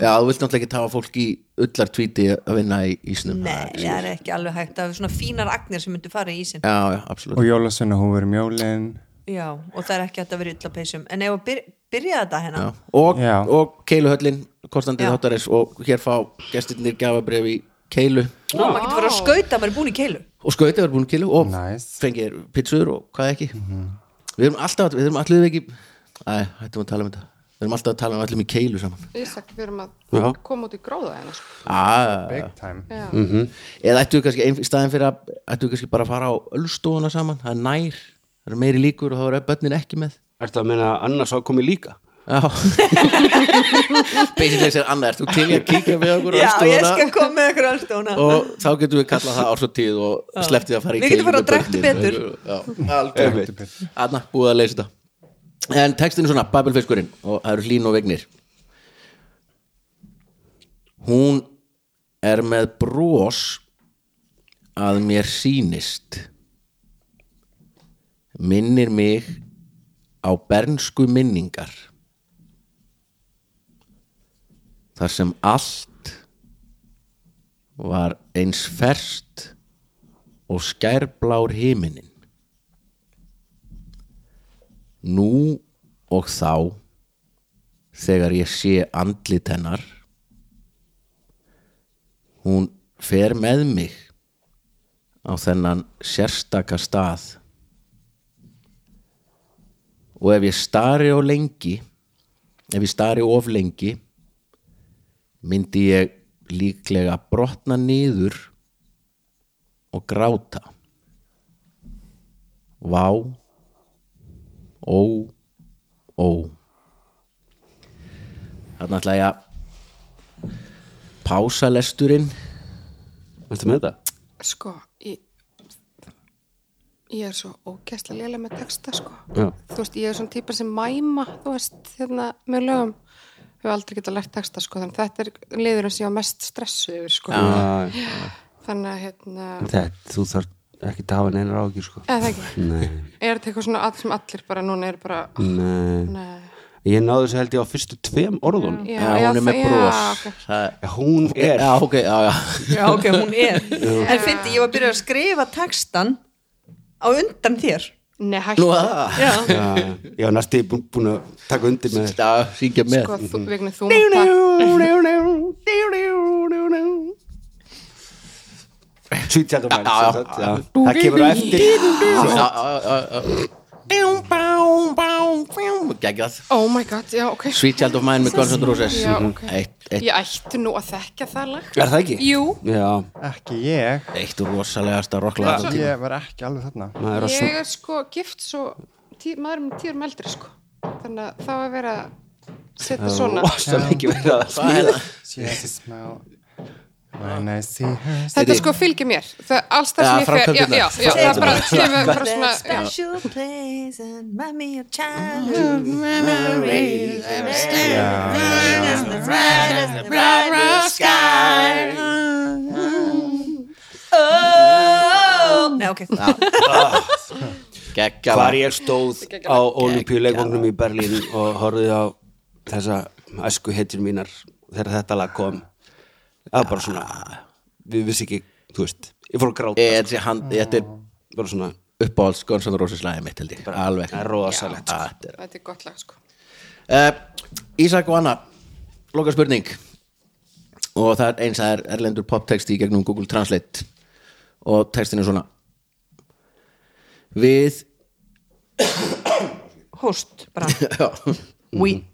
Speaker 2: já, þú vilt náttúrulega ekki tafa fólk í ullar tvíti að vinna í ísnum
Speaker 3: Nei, það er ekki alveg hægt Það er svona fínar agnir sem myndu fara í ísinn
Speaker 2: já, já,
Speaker 4: Og
Speaker 2: absolutt
Speaker 4: jólasunna húfur um jólin
Speaker 3: Já, og það er ekki hægt að vera illa peysum En ef að byrja, byrja þetta hérna
Speaker 2: já. og,
Speaker 4: Já.
Speaker 2: og keiluhöllin, kostandi
Speaker 3: Já.
Speaker 2: þáttaris og hér fá gestirnir gafabref í keilu
Speaker 3: Nú, maður getur fyrir að skauta, maður er búin í keilu
Speaker 2: og skautið var búin keilu og
Speaker 4: Nice.
Speaker 2: fengið pizzur og hvað ekki við erum alltaf, við erum allir ekki æ, hættum að tala um þetta við erum alltaf að tala um allir með keilu saman
Speaker 6: Ísak, við erum að
Speaker 5: Já.
Speaker 6: koma út í gróða hérna sko.
Speaker 2: ah,
Speaker 4: Big time
Speaker 6: Já.
Speaker 2: eða ættu við kannski, ein- í staðin fyrir að ættu við kannski bara að fara á ölstofuna saman það er nær, það eru meiri líkur og þá eru börnin ekki með
Speaker 5: Ertu að meina að annars á komið líka?
Speaker 3: [LAUGHS]
Speaker 2: Já. basically sér annað, ert þú kynja að kíkja með okkur á
Speaker 3: Já, ég
Speaker 2: ölstofuna
Speaker 3: skal koma með ykkur alls dóna
Speaker 2: og þá getum við kallað það ársóttíð og slepptið að fara í
Speaker 3: Hérna. Við
Speaker 2: keilu
Speaker 3: getum farið
Speaker 2: með
Speaker 3: og drekktu
Speaker 2: börnin.
Speaker 3: betur.
Speaker 2: Já, algjörlega. Anna, búið að leysa þetta En textin er svona, Babelfiskurinn og það eru hlín og vegnir Hún er með bros að mér sýnist minnir mig á bernsku minningar þar sem allt var eins ferst og skærblár himinin nú og þá þegar ég sé andlit hennar hún fer með mig á þennan sérstaka stað og ef ég stari á lengi ef ég stari of lengi myndi ég líklega brotna niður og gráta vá ó ó þarna ætla ég að pása lesturinn
Speaker 5: Ertu með þetta?
Speaker 6: sko ég, ég er svo ógæslega lélega með texta sko
Speaker 5: Já.
Speaker 6: þú veist, ég er svona típa sem mæma þú veist, hérna, með lögum hefur aldrei getað lært texta sko þannig að þetta er liðurinn sem ég var mest stressu yfir sko
Speaker 5: Æ,
Speaker 6: þannig að hérna
Speaker 5: Þetta, þú þarf ekki að hafa neinar ágjur sko
Speaker 6: eða það ekki,
Speaker 5: Nei,
Speaker 6: er þetta eitthvað svona all, sem allir bara núna er bara
Speaker 2: Mm.
Speaker 5: nei
Speaker 6: Nei.
Speaker 5: Ég náðu þessu held ég á fyrstu tveim orðun
Speaker 6: Já,
Speaker 2: já, hún er með
Speaker 6: það-
Speaker 2: bros
Speaker 6: já, ok.
Speaker 2: Það-
Speaker 5: Hún er
Speaker 2: já, ok, já, já
Speaker 3: [LAUGHS] Já, ok, hún er En fyndi, ég var byrjuð að skrifa textan á undan þér
Speaker 2: nú
Speaker 6: Nei,
Speaker 2: ah,
Speaker 6: hættu
Speaker 2: að það
Speaker 3: Já,
Speaker 5: Já, ég var næstu bú- búin að taka undir með þér
Speaker 2: Já, syngja með
Speaker 6: sko, þú,
Speaker 2: Mm-hmm.
Speaker 6: vegna þú mátt það-
Speaker 5: Sweet Child of Mine
Speaker 2: Já, já.
Speaker 5: sem sagt, já. Það kemur á eftir
Speaker 2: Gægjað
Speaker 6: oh my god, já, ok
Speaker 2: Sweet Child of Mine með Guns N' Roses
Speaker 6: Já, ok.
Speaker 2: Eitt- eitt-
Speaker 6: ég ætti nú að þekka það lag
Speaker 5: Er það ekki?
Speaker 6: jú,
Speaker 5: Já,
Speaker 4: Ekki ég,
Speaker 2: Eitt rosalegasta rocklag allra tíma.
Speaker 4: ég var ekki alveg þarna
Speaker 5: maður er að svo
Speaker 6: ég er sko gift svo tí, maður með tíur með eldri sko þannig að það var verið að setja svona
Speaker 5: Óstan ekki verið að smíða
Speaker 4: She has a smile When I see her
Speaker 6: þetta sko fylgir mér, það, alls það
Speaker 2: Já,
Speaker 6: sem ég fer já,
Speaker 2: framkvæmdirnar.
Speaker 6: já, já, það er bara kemur bara svona
Speaker 3: That
Speaker 6: já.
Speaker 3: special place and remind me of childhood memories Nei, ok
Speaker 2: Geggjað
Speaker 5: Hvar
Speaker 2: lag.
Speaker 5: ég stóð á olimpíuleikunum í Berlín og horfði á þessa æsku hetjur mínar þegar þetta lag kom Það var bara svona Við vissi ekki, þú veist Ég fór að gráta,
Speaker 2: Ég- þessi hand- Þetta er
Speaker 5: bara svona
Speaker 2: uppáhalds Guns N' Roses lagið mitt held ég Alveg
Speaker 5: það er rosalegt,
Speaker 2: Já, þetta er-
Speaker 6: þetta er gott lag sko
Speaker 2: Eh, Ísak og Anna Loka spurning Og það er eins að er erlendur poptexti í gegnum Google Translate Og textin er svona Við
Speaker 3: Hóst,
Speaker 2: [LAUGHS]
Speaker 3: bara
Speaker 2: Já Mm.
Speaker 3: We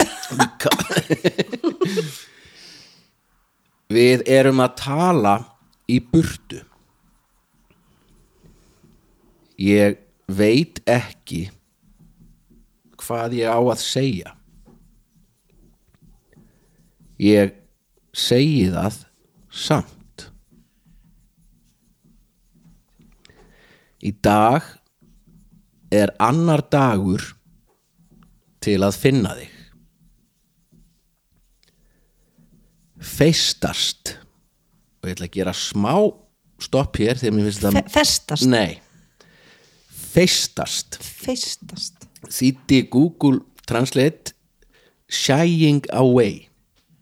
Speaker 2: Við erum að tala í burtu. Ég veit ekki hvað ég á að segja. Ég segi það samt. Í dag er annar dagur til að finna þig. feistast og ég ætla að gera smá stopp hér þegar mér finnst
Speaker 3: Fe-
Speaker 2: þetta
Speaker 3: Festast,
Speaker 2: nei feistast
Speaker 3: festast
Speaker 2: þýtti Google Translate shying away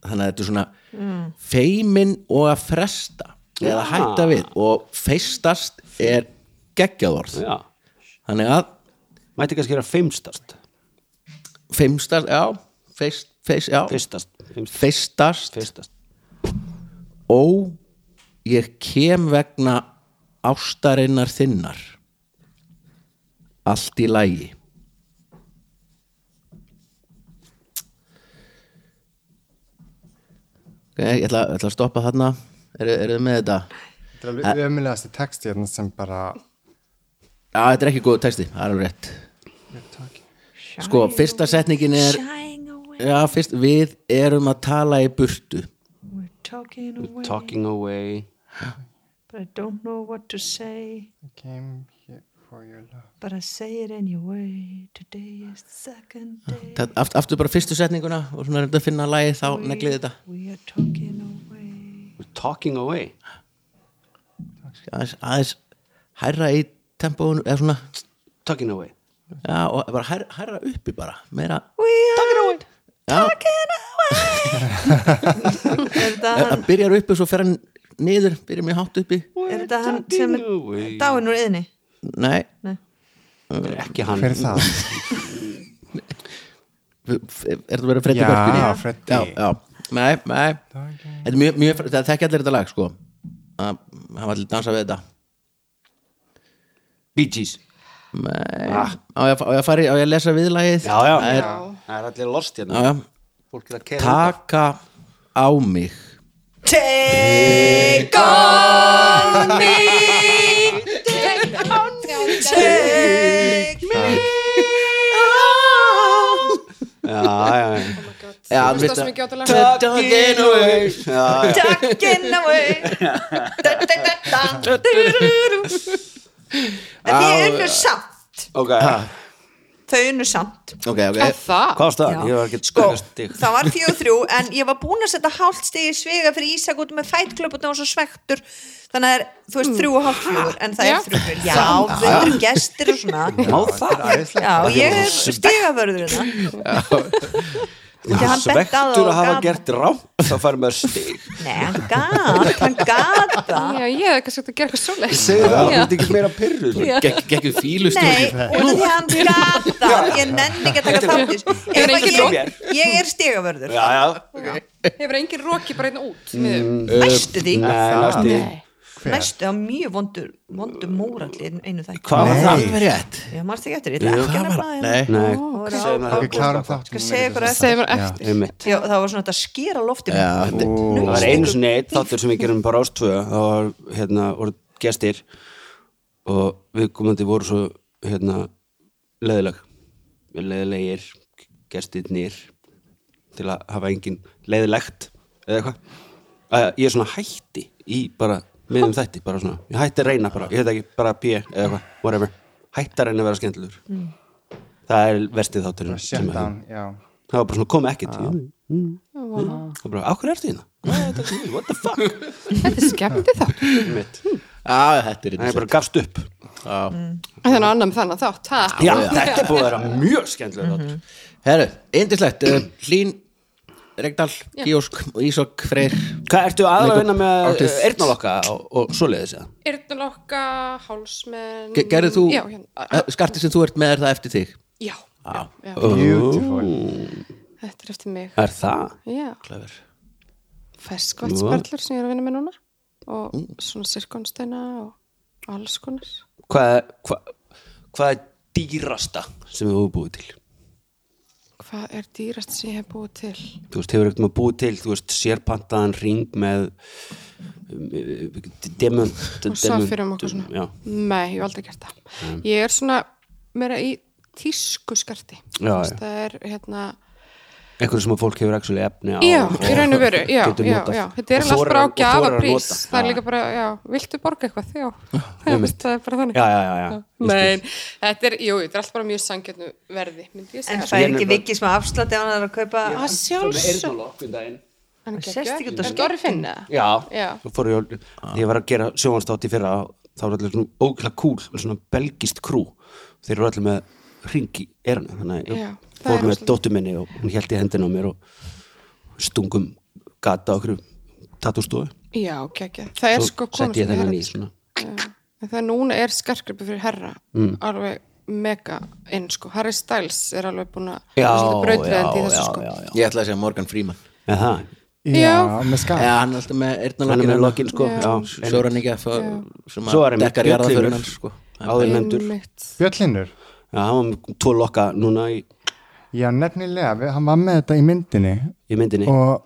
Speaker 2: þannig að þetta er svona feimin og að fresta eða hætta við og feistast er geggjaðorð
Speaker 5: já
Speaker 2: þannig að
Speaker 5: Mætti kannski vera feimstast
Speaker 2: feimstast, já feist, feist, já,
Speaker 5: Feistast, feimstast,
Speaker 2: feistast
Speaker 5: feistast
Speaker 2: Ó, ég kem vegna ástarinnar þinnar. Allt í lagi. Ok, ég ætla, ég ætla að stoppa þarna. Eru, eru þið með þetta?
Speaker 4: Þetta er alveg ömulegasti texti hérna sem bara
Speaker 2: Já, þetta er ekki góð texti, það er alveg rétt. Sko, fyrsta setningin er,
Speaker 3: Dying away,
Speaker 2: já, fyrst, við erum að tala í burtu.
Speaker 3: we're talking away
Speaker 5: Talking away
Speaker 3: But I don't know what to say
Speaker 4: I came here for your love
Speaker 3: But I say it anyway Today is the second day
Speaker 2: Það, aft, aftur bara fyrstu setninguna og svona reynda að finna lagið þá neglið þetta.
Speaker 3: We are talking away
Speaker 5: Talking away
Speaker 2: aðeins, aðeins hærra í tempóinu eða svona
Speaker 5: Talking away
Speaker 2: Já, og bara hær, hærra uppi bara meira,
Speaker 3: We are
Speaker 2: já,
Speaker 3: talking away Er þetta
Speaker 2: það
Speaker 3: hann
Speaker 2: byrjar uppi svo fer hann niður, byrjar mjög hátt uppi
Speaker 3: Er þetta hann sem er dáin úr yðni?
Speaker 2: nei,
Speaker 5: Þetta er ekki hann
Speaker 4: Hver er það?
Speaker 2: er þetta verið Freddi
Speaker 4: Já,
Speaker 2: Börkin?
Speaker 4: Freddi.
Speaker 2: já, já, nei, nei þetta er mjög, mjög, það þekkja allir þetta lag sko Það- hann var allir dansa við þetta
Speaker 5: Bee Gees Ah.
Speaker 2: nei, á ég að á ég að fara í- á ég að lesa viðlagið
Speaker 5: Já, já
Speaker 2: Það er-
Speaker 5: Það er allir lost
Speaker 2: já,
Speaker 5: hérna
Speaker 2: já.
Speaker 5: Fólk er að keira
Speaker 2: taka á mig
Speaker 3: Take on me Take me
Speaker 5: Já, já, já
Speaker 2: já,
Speaker 6: Þú veist það sem ég gjátt að laga
Speaker 2: Tucking away.
Speaker 5: Já, já
Speaker 3: Talking away Da, da, da, da, du, du, du, du. En þið unnu samt
Speaker 5: Ok
Speaker 3: Þau unnu samt
Speaker 2: ok, ok,
Speaker 6: Er það?
Speaker 5: Hvað var staðan?
Speaker 3: Já.
Speaker 5: Ég var ekki
Speaker 3: Sko,
Speaker 5: stig
Speaker 3: það var fjóð þrjú en ég var búin að setja hálft stig í svega fyrir Ísak út með fætklöp og það var svo svektur þannig að það er, þú veist, þrjú og hálft fjóður en það
Speaker 6: Já.
Speaker 3: er þrjú fjóður, já, þau eru gestir og svona,
Speaker 5: Má það?
Speaker 3: já, ég er hérna. stigaförður þetta Því hann bent á það
Speaker 5: Svektur
Speaker 3: og
Speaker 5: að hafa
Speaker 3: gaf-
Speaker 5: gert rámt þá fær maður stig
Speaker 3: Nei, hann gat, hann gat það
Speaker 6: Já, ég hef kannski átt að gera eitthvað svoleiðis
Speaker 5: Segðu það, þú
Speaker 6: Já.
Speaker 5: ert ekki meira pyrruð
Speaker 2: Gekk- gekkju
Speaker 3: Nei,
Speaker 2: fílustúr
Speaker 3: út af því að hann gat það ég nenni ekki að taka þátt í þessu.
Speaker 6: Þetta er
Speaker 3: Ef að
Speaker 6: engin
Speaker 3: ég, ég er stigaförður
Speaker 5: Já, já
Speaker 6: Hefur engin roki bara einna út miður.
Speaker 3: Mm. næstu því,
Speaker 5: Nei, næstu
Speaker 3: næstu það var mjög vondur vondur móralli í einu þætti
Speaker 5: Hvað var það?
Speaker 2: alveg rétt
Speaker 3: Ég marst ekki eftir, ég ætla ekki að nefna það hérna.
Speaker 2: nei,
Speaker 5: Nei,
Speaker 3: Og
Speaker 5: segðu
Speaker 3: rá-
Speaker 5: mér
Speaker 4: Við klárum þátt
Speaker 3: Skal segja ykkur eftir.
Speaker 6: Segðu mér eftir.
Speaker 5: einmitt
Speaker 3: Já, það var svona þetta að skera lofti
Speaker 2: já, þetta er-
Speaker 5: Það var einu sinni eitt þáttur sem við gerum bara ástvöðu það var, hérna, voru gestir og við komandi voru svo hérna, leðileg leðilegir gestirnir til að hafa engin leðilegt eða eitthvað að ég er svona hætti í bara miðum þætti, bara svona, ég hætti að reyna bara, ég veit ekki, bara P eða eitthvað, whatever hætti að reyna að vera skemmtilegur það er verstið þátturinn sem
Speaker 4: Shut
Speaker 5: að-
Speaker 4: down, já
Speaker 5: það var bara svona komið ekkert ah. mm. það var bara, áhverju ertu [LAUGHS] hérna? Hvað er þetta? What the fuck?
Speaker 6: Þetta er skemmti þá
Speaker 5: Mitt.
Speaker 2: Já, þetta er
Speaker 5: það er
Speaker 2: þetta
Speaker 5: bara gafst upp
Speaker 6: Þannig að annar með þannig þátt ha?
Speaker 5: já, þetta er búið að vera mjög skemmtilega mm
Speaker 6: Mhm.
Speaker 5: -hmm.
Speaker 2: Herru, indislegt, uh, Hlín Regdal, Gíosk, Ísok, Freyr
Speaker 5: hvað ertu aðra að vinna með
Speaker 2: Artist.
Speaker 5: eirnalokka og, og svoleiðis eða?
Speaker 6: Yrnulokka, hálsmenn
Speaker 2: Ge- Gerðu þú,
Speaker 6: Já, hérna,
Speaker 2: eh, skartið sem þú ert með er það eftir þig
Speaker 6: já,
Speaker 2: Já,
Speaker 6: já.
Speaker 4: Beautiful
Speaker 6: þetta er eftir mig
Speaker 5: er það?
Speaker 6: Já,
Speaker 2: klæður
Speaker 6: ferskvartsperlur sem ég er að vinna með núna og
Speaker 5: Mm.
Speaker 6: svona sirkonsteina og alls konar
Speaker 5: hvað hva, hva er dýrasta sem þú hefur búið til?
Speaker 6: Hvað er dýrast sem ég hef búið til?
Speaker 5: þú veist, hefur ekkert maður búið til þú veist, sérpantaðan ring með um, demund
Speaker 6: Og safírum og eitthvað svona.
Speaker 5: já, Mm.
Speaker 6: Nei, ég hef aldrei gert það. Ég er svona meira í tísku skarti.
Speaker 5: Já, já.
Speaker 6: Það er hérna,
Speaker 5: eitthvað sem að fólk hefur actually efni á
Speaker 6: já,
Speaker 5: og-
Speaker 6: í raun og veru, já,
Speaker 5: getur
Speaker 6: já,
Speaker 5: notað.
Speaker 6: já. Þetta
Speaker 5: Og
Speaker 6: er alltaf
Speaker 5: þorir-
Speaker 6: bara á
Speaker 5: og þorir að
Speaker 6: gjafaprís.
Speaker 5: nota.
Speaker 6: Það er
Speaker 5: Já.
Speaker 6: líka bara, já, viltu borga eitthvað?
Speaker 5: [LAUGHS]
Speaker 6: Já, já
Speaker 5: einmitt.
Speaker 6: það er bara þannig.
Speaker 5: Já, já, já, já. Ég
Speaker 6: Nei, þetta er, jú, þetta er alltaf bara mjög sangjötnu verði, myndi ég
Speaker 3: En
Speaker 6: segja.
Speaker 3: það er ekki vikið sem að afslátt ef hann er að kaupa
Speaker 6: Það sjálfsög.
Speaker 5: um
Speaker 6: Hann er
Speaker 3: sést ekki
Speaker 6: geggjör.
Speaker 3: út á
Speaker 6: En Dóri finna það.
Speaker 5: Já,
Speaker 6: Já.
Speaker 5: Svo fór ég, á- þegar ég var að gera sjónvarstátt í fyrra þá var allir svona ógæla kúl með svona belgist krú þeir eru allir með ring í erinu þannig að
Speaker 6: Já,
Speaker 5: ég
Speaker 6: það
Speaker 5: fór
Speaker 6: er
Speaker 5: með
Speaker 6: rosalegt.
Speaker 5: dóttur minni og hún held í hendina á mér og stungum gata okkur tattústofu
Speaker 6: Já, geggja. Það er sko komið
Speaker 5: setti ég þennan í svona
Speaker 6: En það núna er skarkrippu fyrir herra
Speaker 5: Mm.
Speaker 6: alveg mega inn sko. Harry Styles er alveg búin að
Speaker 5: Já,
Speaker 6: brautriðandi í
Speaker 5: já,
Speaker 6: þessu
Speaker 5: já,
Speaker 6: sko.
Speaker 5: já, já.
Speaker 2: Ég ætla að segja Morgan Freeman
Speaker 5: Eða það,
Speaker 4: Já, með skap
Speaker 2: Já, hann er alltaf með hérna.
Speaker 5: hann er með
Speaker 2: eyrnalokkin
Speaker 5: lokin sko já. en-
Speaker 2: Sjóraningja sem
Speaker 5: Svo er
Speaker 2: að
Speaker 5: hann með
Speaker 2: dekkar jarðaförun
Speaker 5: bjöllur.
Speaker 2: hans sko.
Speaker 5: áður nefndur
Speaker 6: Einmitt.
Speaker 4: Bjöllinur
Speaker 5: Já, hann var með tvo lokka núna í,
Speaker 4: Já, nefnilega, við- hann var með þetta í myndinni
Speaker 5: í myndinni
Speaker 4: og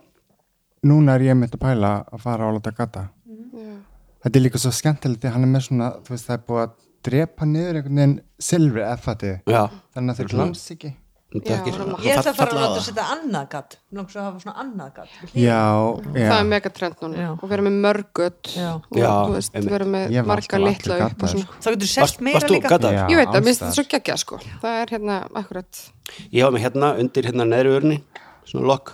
Speaker 4: núna er ég mynd að pæla að fara á láta gata
Speaker 6: Mhm.
Speaker 4: Þetta er líka svo skemmtilegt því hann er með svona, þú veist, það er búið að drepa niður einhvern veginn silfri eða fatti
Speaker 5: Já,
Speaker 4: þannig að þau glams ekki
Speaker 5: hann
Speaker 6: Já,
Speaker 5: takkir
Speaker 6: svona.
Speaker 3: Ég ætla að fara að
Speaker 2: Falla á
Speaker 3: láta
Speaker 2: það.
Speaker 3: að setja annað gatt Nóks að hafa svona annað gatt
Speaker 4: Já, já
Speaker 6: Það er mega trend núna
Speaker 3: Já.
Speaker 6: og vera með mörgut
Speaker 3: Já.
Speaker 6: og
Speaker 5: Já,
Speaker 6: þú veist,
Speaker 5: einmitt.
Speaker 6: vera með
Speaker 4: Ég var alltaf
Speaker 6: marga litla
Speaker 4: allur
Speaker 6: upp og
Speaker 4: gaddaður,
Speaker 5: sko.
Speaker 6: svona.
Speaker 3: Þá getur selt meira
Speaker 5: Varst þú
Speaker 3: líka
Speaker 5: gata?
Speaker 4: Já,
Speaker 6: Ég veit að minnst
Speaker 4: alls
Speaker 6: þetta svo geggja sko. Það er hérna akkurat.
Speaker 5: Ég hafa mig hérna undir hérna neðri örni svona lokk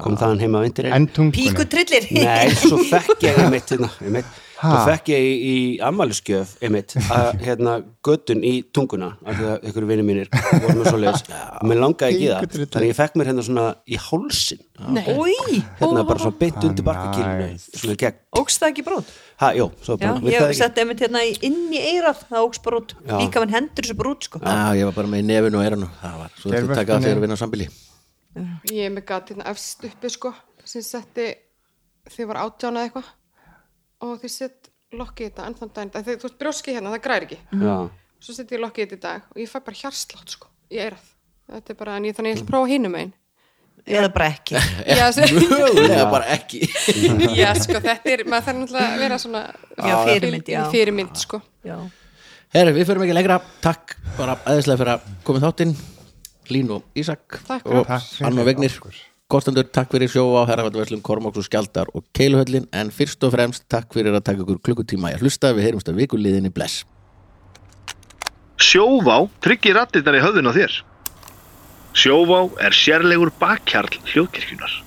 Speaker 5: kom þaðan heima á vindir
Speaker 4: En tungunni
Speaker 3: Píkutrillir [LAUGHS]
Speaker 5: Nei, svo fekk ég einmitt hérna einmitt. Það fekk ég í, í ammælisgjöf einmitt, að hérna göttun í tunguna af því að ykkur vinir mínir voru með svoleiðis og mér langaði ekki í það
Speaker 4: Fingurdrullar.
Speaker 5: þannig ég fekk mér hérna svona í hálsin
Speaker 3: Új,
Speaker 5: hérna bara svona beint undir
Speaker 4: Ah,
Speaker 5: barkakýrinu
Speaker 4: nice.
Speaker 5: svona gegn,
Speaker 3: ógst það ekki brot
Speaker 5: ha, jú, svo
Speaker 3: Já,
Speaker 5: bara vill það
Speaker 3: ég
Speaker 5: ekki.
Speaker 3: setti einmitt hérna í- inn í eirað það ógst brot,
Speaker 5: Já.
Speaker 3: líka mann hendur þessu brot sko.
Speaker 2: Já, ég var bara með nefinu og erinu Það var, svo þetta taka
Speaker 4: Geirvörtunni.
Speaker 2: þegar að vinna sambili
Speaker 6: Ég er með gat hérna efst uppi sko sem setti þið var átjánað eitthvað og þið sett lokki í þetta enn þann daginn þegar þú ert brjóski hérna, það græri ekki
Speaker 5: Já,
Speaker 6: svo setti ég lokki í þetta í dag og ég fæ bara hjarslátt sko, ég er að þetta er bara, en ég þannig ég ætla að prófa hinum einn
Speaker 3: eða bara ekki
Speaker 6: Já, se-
Speaker 2: Mögulega bara ekki
Speaker 6: [LAUGHS] já, sko, þetta er, maður þarf náttúrulega að vera svona
Speaker 3: Já, fyrirmynd, já.
Speaker 6: fyrirmynd, sko
Speaker 3: Já.
Speaker 2: Herru, við förum ekki lengra Takk bara aðeinslega fyrir að komið þáttinn Lín og Ísak
Speaker 6: Takk
Speaker 2: og
Speaker 4: Takk fyrir
Speaker 2: Anna og Vegnir
Speaker 4: okkur.
Speaker 2: Kostendur, takk fyrir sjó á herrafættuverslum Kormáks og Skjaldar og Keiluhöllin en fyrst og fremst takk fyrir að taka ykkur klukkutíma í að hlusta, við heyrumst að vikuliðinni bless
Speaker 1: Sjóvá tryggir rattirnar í höfðun á þér. Sjóvá er sérlegur bakkjarl hljóðkirkjunar.